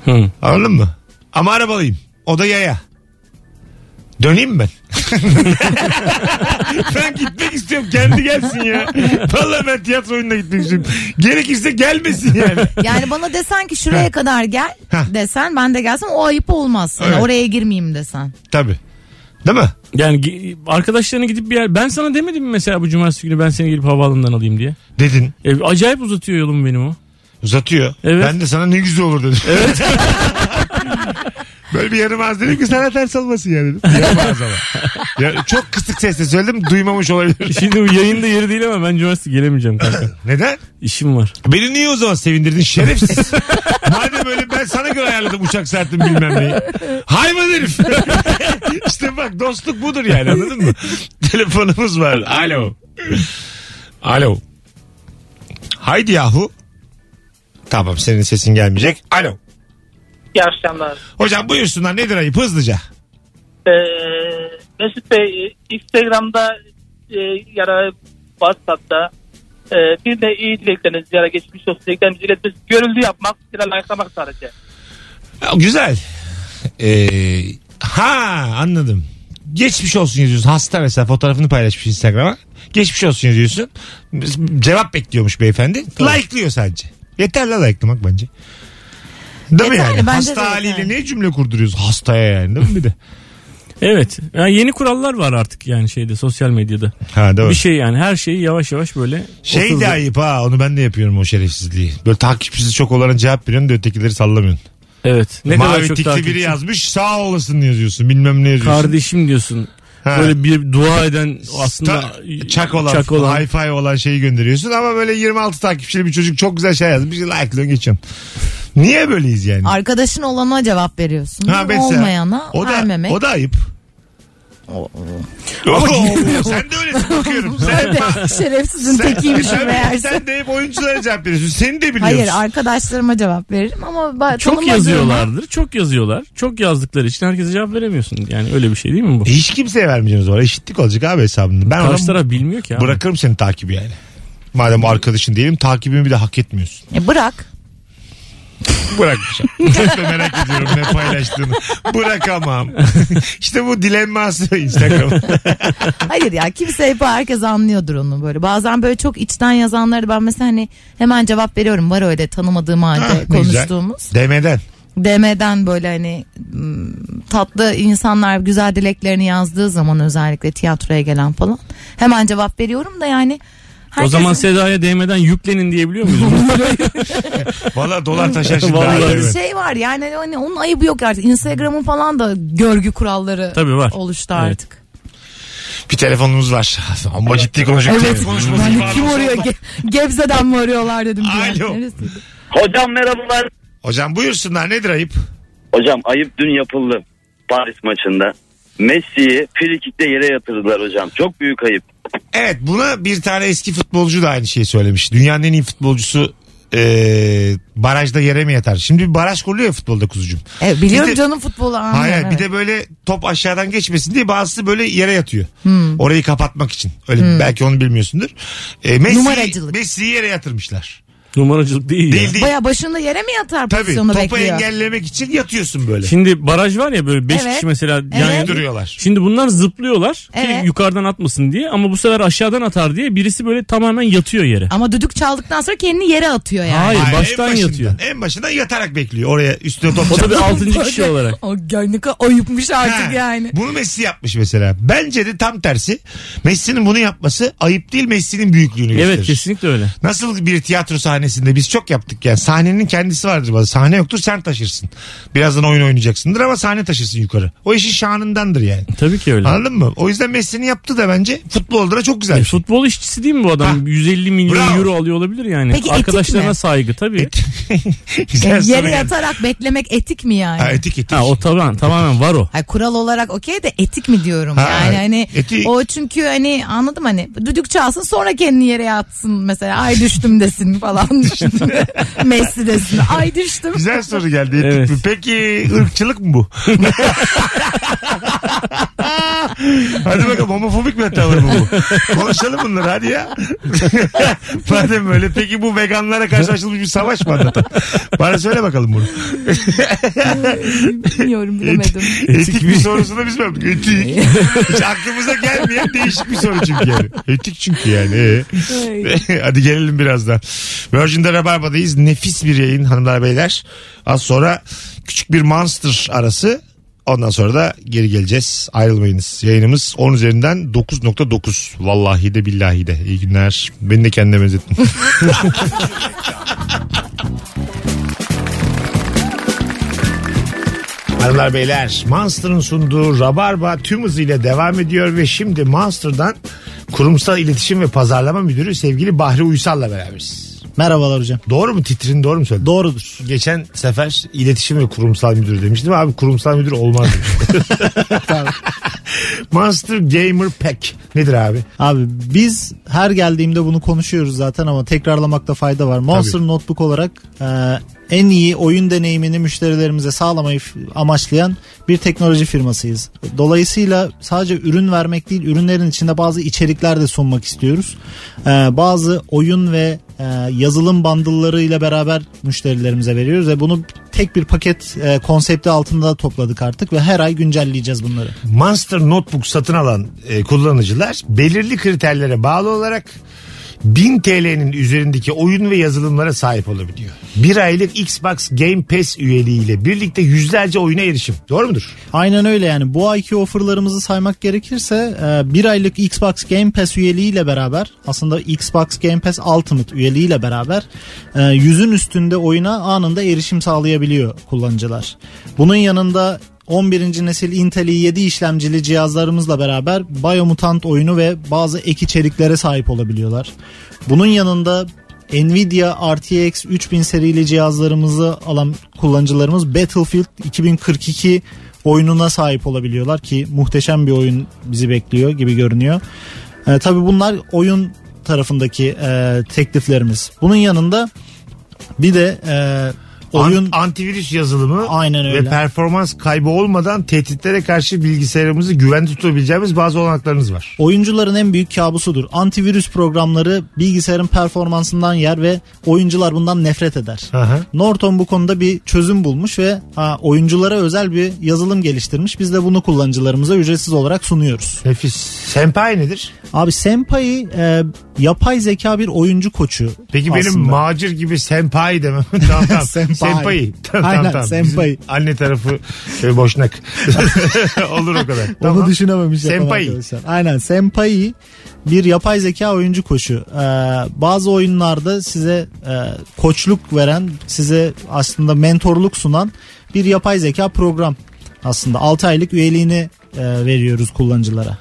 S5: Hı.
S3: Anladın mı? Ama arabalıyım. O da yaya. Döneyim mi ben? <laughs> ben gitmek istiyorum kendi gelsin ya. Vallahi ben tiyatro oyununa gitmek istiyorum. Gerekirse gelmesin yani.
S4: Yani bana desen ki şuraya kadar gel desen ben de gelsem o ayıp olmaz. Hani
S3: Evet.
S4: Oraya girmeyeyim desen.
S3: Tabii. Değil mi?
S5: Yani gi- arkadaşlarına gidip bir yer ben sana demedim mi mesela bu cumartesi günü ben seni gelip havaalanından alayım diye.
S3: Dedin.
S5: E, acayip uzatıyor yolum benim
S3: <laughs>
S5: o.
S3: Uzatıyor.
S5: Evet.
S3: Ben de sana ne güzel olur dedim. Evet. <laughs> Böyle bir yarım ağız dedim ki sana ters olmasın <laughs> yani dedim. Yarım ağız ama. Ya, çok kısık sesle söyledim duymamış <laughs> olabilir.
S5: Şimdi bu yayında yeri değil ama ben cumartesi gelemeyeceğim
S3: <laughs>
S5: kanka.
S3: Neden?
S5: İşim var.
S3: Beni niye o zaman sevindirdin şerefsiz? <laughs> Madem öyle ben sana göre ayarladım uçak saatimi bilmem neyi. Hayvan herif. <laughs> işte bak dostluk budur yani anladın <laughs> mı? Telefonumuz var. Alo. Alo. Haydi yahu. Tamam senin sesin gelmeyecek. Alo.
S14: İyi akşamlar.
S3: Hocam buyursunlar nedir ayıp hızlıca?
S14: Ee, Mesut Bey Instagram'da e, ya da WhatsApp'ta e, bir de iyi dilekleriniz ya da geçmiş olsun dileklerinizi iletmesi görüldü yapmak ya da like'lamak sadece.
S3: Ya, Güzel. Ee, ha anladım. Geçmiş olsun yazıyorsun. Hasta mesela fotoğrafını paylaşmış Instagram'a. Geçmiş olsun yazıyorsun. Cevap bekliyormuş beyefendi. Like'lıyor sadece. Yeter la like'lamak bence. Değil mi
S5: Yeterli,
S3: yani?
S5: bence de
S3: Hasta haliyle ne cümle kurduruyoruz hastaya yani değil mi bir de?
S5: Evet. Yani yeni kurallar var artık yani şeyde sosyal medyada.
S3: Ha doğru.
S5: Bir şey yani her şeyi yavaş yavaş böyle
S3: Şey de
S5: oturdu.
S3: ayıp ha onu ben de yapıyorum o şerefsizliği. Böyle takipçisi çok olana cevap veriyorsun da ötekileri sallamıyorsun.
S5: Evet. Ne
S3: Mavi
S5: kadar çok
S3: tikli
S5: takipçi.
S3: biri yazmış sağ olasın yazıyorsun bilmem ne yazıyorsun.
S5: Kardeşim diyorsun.
S3: Ha.
S5: Böyle bir dua eden aslında
S3: Ta- çak olan, hi-fi olan şeyi gönderiyorsun ama böyle 26 takipçili bir çocuk çok güzel şey yazmış. Like'lıyorsun geçiyorsun. Niye böyleyiz yani?
S4: Arkadaşın olana cevap veriyorsun.
S3: mesela.
S4: Olmayana
S3: o da,
S4: vermemek.
S3: O da ayıp.
S4: Ama-
S3: Oo, <laughs> sen de öylesin
S4: <laughs>
S3: bakıyorum. Sen, <laughs>
S4: Ben de şerefsizin tekiymişim
S3: sen-
S4: şey meğerse.
S3: Sen de hep oyunculara cevap veriyorsun. Seni de biliyorsun.
S4: Hayır arkadaşlarıma cevap veririm ama ba-
S5: Çok
S4: tanımadığıma-
S5: yazıyorlardır. Çok yazıyorlar. Çok yazdıkları için herkese cevap veremiyorsun. Yani öyle bir şey değil mi bu?
S3: Hiç kimseye vermeyeceğiz o ara. Eşitlik olacak abi hesabında. Ben
S5: Karşı
S3: ona
S5: taraf bilmiyor ki abi.
S3: bırakırım seni takibi yani. Madem arkadaşın değilim takibimi bir de hak etmiyorsun.
S4: E, bırak.
S3: Bırakmayacağım. Çok da merak ediyorum ne paylaştığını. Bırakamam. <laughs> işte bu dilenması Instagram.
S4: Hayır ya kimse hep herkes anlıyordur onu böyle. Bazen böyle çok içten yazanları ben mesela hani hemen cevap veriyorum. Var öyle tanımadığım halde
S3: Ha, Ah, ne güzel.
S4: konuştuğumuz.
S3: Demeden.
S4: DM'den böyle hani m, tatlı insanlar güzel dileklerini yazdığı zaman özellikle tiyatroya gelen falan. Hemen cevap veriyorum da yani.
S5: O
S4: herkesin-
S5: zaman Seda'ya değmeden yüklenin diyebiliyor muyuz?
S3: <laughs> Valla dolar taşar şimdi.
S5: Vallahi.
S3: Abi,
S4: Bir
S3: evet.
S4: şey var yani hani onun ayıbı yok artık. Instagram'ın falan da görgü kuralları
S3: Tabii var.
S4: oluştu
S3: Evet.
S4: artık.
S3: Bir telefonumuz var. Ama ciddi konuşacak.
S4: Evet.
S3: Telefon konuşması
S4: Yani
S3: gibi
S4: kim
S3: abi.
S4: arıyor? Ge- Gebze'den mi arıyorlar dedim.
S3: Alo.
S15: Hocam merhabalar.
S3: Hocam buyursunlar nedir ayıp?
S15: Hocam ayıp dün yapıldı Paris maçında. Messi'yi frikikte yere yatırdılar hocam. Çok büyük ayıp.
S3: Evet buna bir tane eski futbolcu da aynı şeyi söylemiş. Dünyanın en iyi futbolcusu eee, barajda yere mi yatar? Şimdi bir baraj kuruluyor ya futbolda kuzucuğum.
S4: E, biliyorum
S3: Bir de-
S4: canım futbolu anlıyorum.
S3: Hayır bir
S4: evet.
S3: de böyle top aşağıdan geçmesin diye bazısı böyle yere yatıyor.
S4: Hmm.
S3: Orayı kapatmak için. Öyle
S4: Hmm.
S3: belki onu bilmiyorsundur. E, Messi,
S4: Numaracılık.
S3: Messi'yi yere yatırmışlar.
S5: Numaracılık değil,
S3: Değil değil.
S4: Baya başında yere mi yatar
S3: Tabii
S4: pozisyonu
S3: topu
S4: bekliyor?
S3: engellemek için yatıyorsun böyle.
S5: Şimdi baraj var ya böyle 5
S4: Evet.
S5: kişi mesela yan
S4: Evet.
S5: yana
S3: duruyorlar.
S5: Şimdi bunlar zıplıyorlar
S4: Evet.
S5: ki yukarıdan atmasın diye ama bu sefer aşağıdan atar diye birisi böyle tamamen yatıyor yere.
S4: Ama düdük çaldıktan sonra kendini yere atıyor yani.
S5: Hayır, baştan
S3: en başından-
S5: yatıyor.
S3: En başından yatarak bekliyor oraya üstüne top
S5: O
S4: <laughs>
S5: da bir
S3: çarpsın.
S5: altıncı kişi olarak.
S4: O Gönlük'e ayıpmış artık
S3: Ha,
S4: yani.
S3: Bunu Messi yapmış mesela. Bence de tam tersi. Messi'nin bunu yapması ayıp değil Messi'nin büyüklüğünü gösterir.
S5: Evet kesinlikle öyle.
S3: Nasıl bir tiyatro sahnesinde biz çok yaptık yani sahnenin kendisi vardır bazı sahne yoktur sen taşırsın. Birazdan oyun oynayacaksındır ama sahne taşırsın yukarı. O işin şanındandır yani.
S5: Tabii ki öyle.
S3: Anladın mı? O yüzden Messi'nin yaptığı da bence futbolda da çok güzel.
S5: E,
S3: bir şey.
S5: futbol işçisi değil mi bu adam? 150 milyon
S3: Bravo.
S5: euro alıyor olabilir yani.
S4: Peki etik
S5: Arkadaşlarına
S4: mi?
S5: saygı tabii.
S4: E,
S3: Güzel soru
S4: yere
S3: yani.
S4: yatarak beklemek etik mi yani?
S3: Ha, etik etik.
S5: Ha, o tamam, tamamen var o.
S4: Hayır, kural olarak okey de etik mi diyorum
S5: Ha,
S4: yani hani
S5: etik.
S4: o çünkü hani anladım hani düdük çalsın sonra kendini yere yatsın mesela ay düştüm desin falan <laughs> Messi desin ay düştüm. <laughs>
S3: Güzel soru geldi. etik mi? <laughs> Peki ırkçılık mı bu? Hadi bakalım homofobik bir hata var mı bu? Konuşalım bunları hadi ya. <laughs> Madem böyle peki bu veganlara karşı açılmış bir savaş mı anlatan? Bana söyle bakalım bunu.
S4: Bilmiyorum bilemedim.
S3: Etik bir sorusunu biz mi yaptık? Etik. <laughs> Hiç aklımıza gelmeyen değişik bir soru çünkü yani. Etik çünkü yani. ee. <laughs> Hadi gelelim birazdan. Virgin'de Rabarba'dayız. Nefis bir yayın hanımlar beyler. Az sonra küçük bir monster arası. Ondan sonra da geri geleceğiz. Ayrılmayınız. Yayınımız 10 üzerinden 9.9. Vallahi de billahi de. İyi günler. Beni de kendine benzettin. Hanımlar beyler Monster'ın sunduğu Rabarba tüm hızıyla devam ediyor ve şimdi Monster'dan Kurumsal İletişim ve Pazarlama Müdürü sevgili Bahri Uysal'la beraberiz.
S16: Merhabalar hocam.
S3: Doğru mu titrin doğru mu söyledin?
S16: Doğrudur.
S3: Geçen sefer iletişim ve kurumsal müdür demiştim. Abi kurumsal müdür olmaz demiş. Monster Gamer Pack nedir abi?
S16: Abi biz her geldiğimde bunu konuşuyoruz zaten ama tekrarlamakta fayda var. Monster
S3: Tabii.
S16: Notebook olarak e, en iyi oyun deneyimini müşterilerimize sağlamayı f- amaçlayan bir teknoloji firmasıyız. Dolayısıyla sadece ürün vermek değil, ürünlerin içinde bazı içerikler de sunmak istiyoruz. E, bazı oyun ve e, yazılım bandıllarıyla beraber müşterilerimize veriyoruz ve bunu tek bir paket e, konsepti altında topladık artık ve her ay güncelleyeceğiz bunları.
S3: Monster Notebook satın alan e, kullanıcılar belirli kriterlere bağlı olarak 1000 TL'nin üzerindeki oyun ve yazılımlara sahip olabiliyor. Bir aylık Xbox Game Pass üyeliğiyle birlikte yüzlerce oyuna erişim. Doğru mudur?
S16: Aynen öyle yani. Bu ayki offerlarımızı saymak gerekirse e, bir aylık Xbox Game Pass üyeliğiyle beraber aslında Xbox Game Pass Ultimate üyeliğiyle beraber e, yüzün üstünde oyuna anında erişim sağlayabiliyor kullanıcılar. Bunun yanında 11. nesil Intel i7 işlemcili cihazlarımızla beraber Biomutant oyunu ve bazı ek içeriklere sahip olabiliyorlar. Bunun yanında Nvidia RTX 3000 serili cihazlarımızı alan kullanıcılarımız Battlefield 2042 oyununa sahip olabiliyorlar ki muhteşem bir oyun bizi bekliyor gibi görünüyor. Ee, tabii bunlar oyun tarafındaki e, tekliflerimiz. Bunun yanında bir de e, oyun
S3: An- antivirüs yazılımı
S16: Aynen öyle.
S3: ve performans kaybı olmadan tehditlere karşı bilgisayarımızı güven tutabileceğimiz bazı olanaklarımız var.
S16: oyuncuların en büyük kabusudur. Antivirüs programları bilgisayarın performansından yer ve oyuncular bundan nefret eder.
S3: Aha.
S16: Norton bu konuda bir çözüm bulmuş ve ha, oyunculara özel bir yazılım geliştirmiş. Biz de bunu kullanıcılarımıza ücretsiz olarak sunuyoruz.
S3: Nefis. Senpai nedir?
S16: Abi Senpai e, yapay zeka bir oyuncu koçu.
S3: Peki benim
S16: aslında.
S3: macir gibi senpai demem. <laughs> tamam tamam. senpai.
S16: <laughs> Senpai.
S3: Senpai. Tamam,
S16: Aynen,
S3: tamam.
S16: senpai.
S3: Bizim anne tarafı e, boşnak. <laughs> Olur o kadar.
S16: Onu şey düşünememiş yapan
S3: Senpai.
S16: arkadaşlar. Aynen Senpai bir yapay zeka oyuncu koçu. Ee, bazı oyunlarda size e, koçluk veren, size aslında mentorluk sunan bir yapay zeka program. Aslında 6 aylık üyeliğini e, veriyoruz kullanıcılara.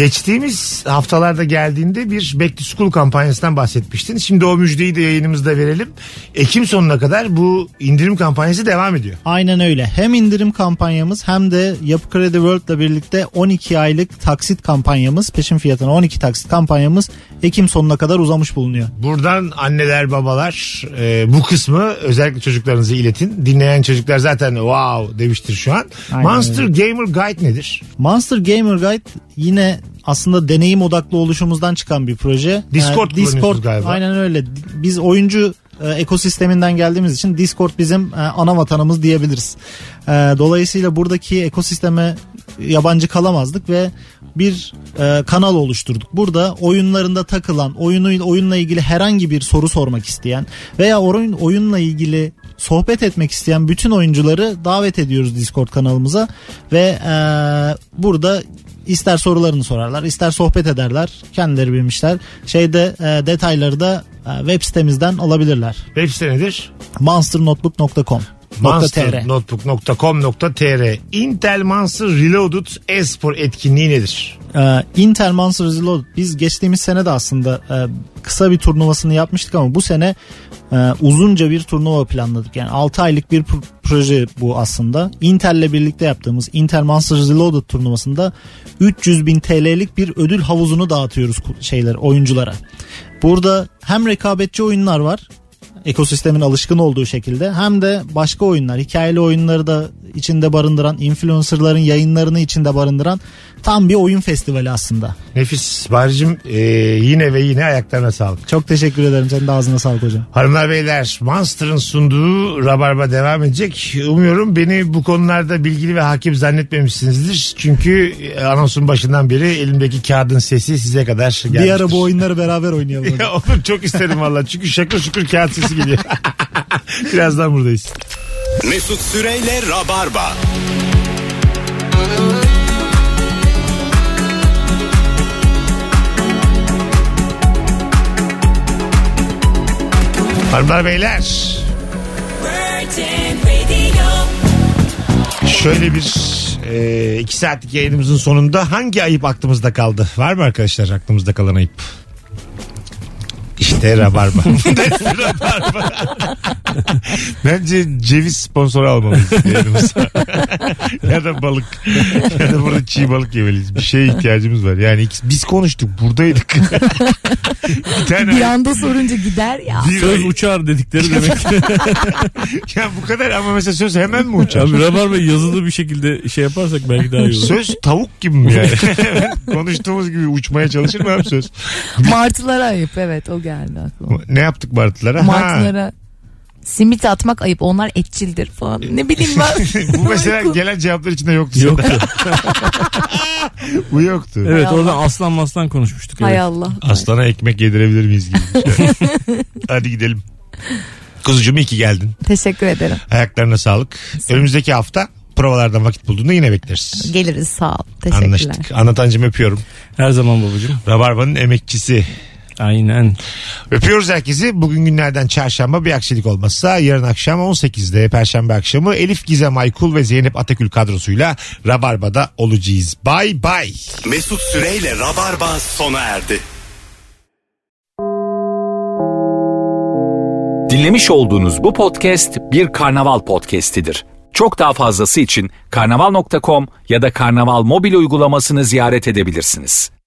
S3: Geçtiğimiz haftalarda geldiğinde bir Back to School kampanyasından bahsetmiştin. Şimdi o müjdeyi de yayınımızda verelim. Ekim sonuna kadar bu indirim kampanyası devam ediyor.
S16: Aynen öyle. Hem indirim kampanyamız hem de Yapı Kredi World'la birlikte 12 aylık taksit kampanyamız, peşin fiyatına 12 taksit kampanyamız Ekim sonuna kadar uzamış bulunuyor.
S3: Buradan anneler babalar e, bu kısmı özellikle çocuklarınızı iletin. Dinleyen çocuklar zaten wow demiştir şu an.
S16: Aynen
S3: Monster Gamer Guide nedir?
S16: Monster Gamer Guide yine aslında deneyim odaklı oluşumuzdan çıkan bir proje.
S3: Discord kullanıyorsunuz galiba.
S16: Aynen öyle. Biz oyuncu e, ekosisteminden geldiğimiz için Discord bizim e, ana vatanımız diyebiliriz. E, dolayısıyla buradaki ekosisteme yabancı kalamazdık ve bir e, kanal oluşturduk. Burada oyunlarında takılan, oyunu oyunla ilgili herhangi bir soru sormak isteyen veya oyun oyunla ilgili sohbet etmek isteyen bütün oyuncuları davet ediyoruz Discord kanalımıza ve e, burada ister sorularını sorarlar, ister sohbet ederler, kendileri bilmişler. Şeyde e, detayları da e, web sitemizden alabilirler.
S3: Web site nedir?
S16: monsternotebook.com .tr.
S3: Monsternotebook.com.tr Intel Monster Reloaded e-spor etkinliği nedir?
S16: Ee, Intel Monster Reload biz geçtiğimiz sene de aslında e, kısa bir turnuvasını yapmıştık ama bu sene e, uzunca bir turnuva planladık. Yani 6 aylık bir pro- proje bu aslında. Intel'le birlikte yaptığımız Intel Monster Reloaded turnuvasında 300 bin TL'lik bir ödül havuzunu dağıtıyoruz ku- şeyler oyunculara. Burada hem rekabetçi oyunlar var ekosistemin alışkın olduğu şekilde hem de başka oyunlar hikayeli oyunları da içinde barındıran influencerların yayınlarını içinde barındıran tam bir oyun festivali aslında.
S3: Nefis. Barcım e, yine ve yine ayaklarına sağlık.
S16: Çok teşekkür ederim. Senin de ağzına sağlık hocam.
S3: Hanımlar beyler Monster'ın sunduğu Rabarba devam edecek. Umuyorum beni bu konularda bilgili ve hakim zannetmemişsinizdir. Çünkü e, anonsun başından beri elimdeki kağıdın sesi size kadar gelmiştir.
S16: Bir ara bu oyunları beraber oynayalım.
S3: Ya oğlum çok isterim valla. Çünkü şakır şukur kağıt sesi geliyor. <laughs> Birazdan buradayız.
S2: Mesut Süreyle Rabarba.
S3: Hanımlar beyler şöyle bir e, iki saatlik yayınımızın sonunda hangi ayıp aklımızda kaldı? Var mı arkadaşlar aklımızda kalan ayıp? İşte rabarba. Rabarba. Bence ceviz sponsoru almalıyız yayınımıza. <laughs> ya da balık. ya da burada çiğ balık yemeliyiz. Bir şeye ihtiyacımız var. Yani ikisi- biz konuştuk buradaydık. <laughs> bir tane
S4: Bir anda sorunca gider
S3: <laughs>
S4: ya.
S5: Söz uçar dedikleri demek.
S3: ya bu kadar ama mesela <laughs> söz hemen mi uçar?
S5: Abi Rabarba yazılı bir şekilde şey yaparsak belki daha iyi olur.
S3: Söz tavuk gibi mi yani? <laughs> Konuştuğumuz gibi uçmaya çalışır mı abi söz?
S4: Martılara ayıp evet o geldi aklıma.
S3: Ne yaptık Bartılara? Ha.
S4: Martılara simit atmak ayıp onlar etçildir falan. Ne bileyim ben.
S3: bu mesela gelen cevaplar içinde yoktu.
S5: Yoktu.
S3: <laughs> Bu yoktu.
S5: Evet oradan aslan maslan konuşmuştuk.
S4: Hay
S5: evet.
S4: Allah.
S3: Aslana ekmek yedirebilir miyiz gibi. şey.
S4: <laughs>
S3: Hadi gidelim. Kuzucuğum iyi ki geldin.
S4: Teşekkür ederim.
S3: Ayaklarına sağlık. Önümüzdeki hafta provalardan vakit bulduğunda yine bekleriz.
S4: Geliriz sağ ol. Teşekkürler.
S3: Anlaştık. Anlatancım öpüyorum.
S5: Her zaman babacığım.
S3: Rabarba'nın emekçisi.
S5: Aynen.
S3: Öpüyoruz herkesi. Bugün günlerden çarşamba bir aksilik olmazsa yarın akşam 18'de perşembe akşamı Elif Gizem Aykul ve Zeynep Atakül kadrosuyla Rabarba'da olacağız. Bay bay.
S2: Mesut Süreyle Rabarba sona erdi.
S1: Dinlemiş olduğunuz bu podcast bir karnaval podcastidir. Çok daha fazlası için karnaval.com ya da karnaval mobil uygulamasını ziyaret edebilirsiniz.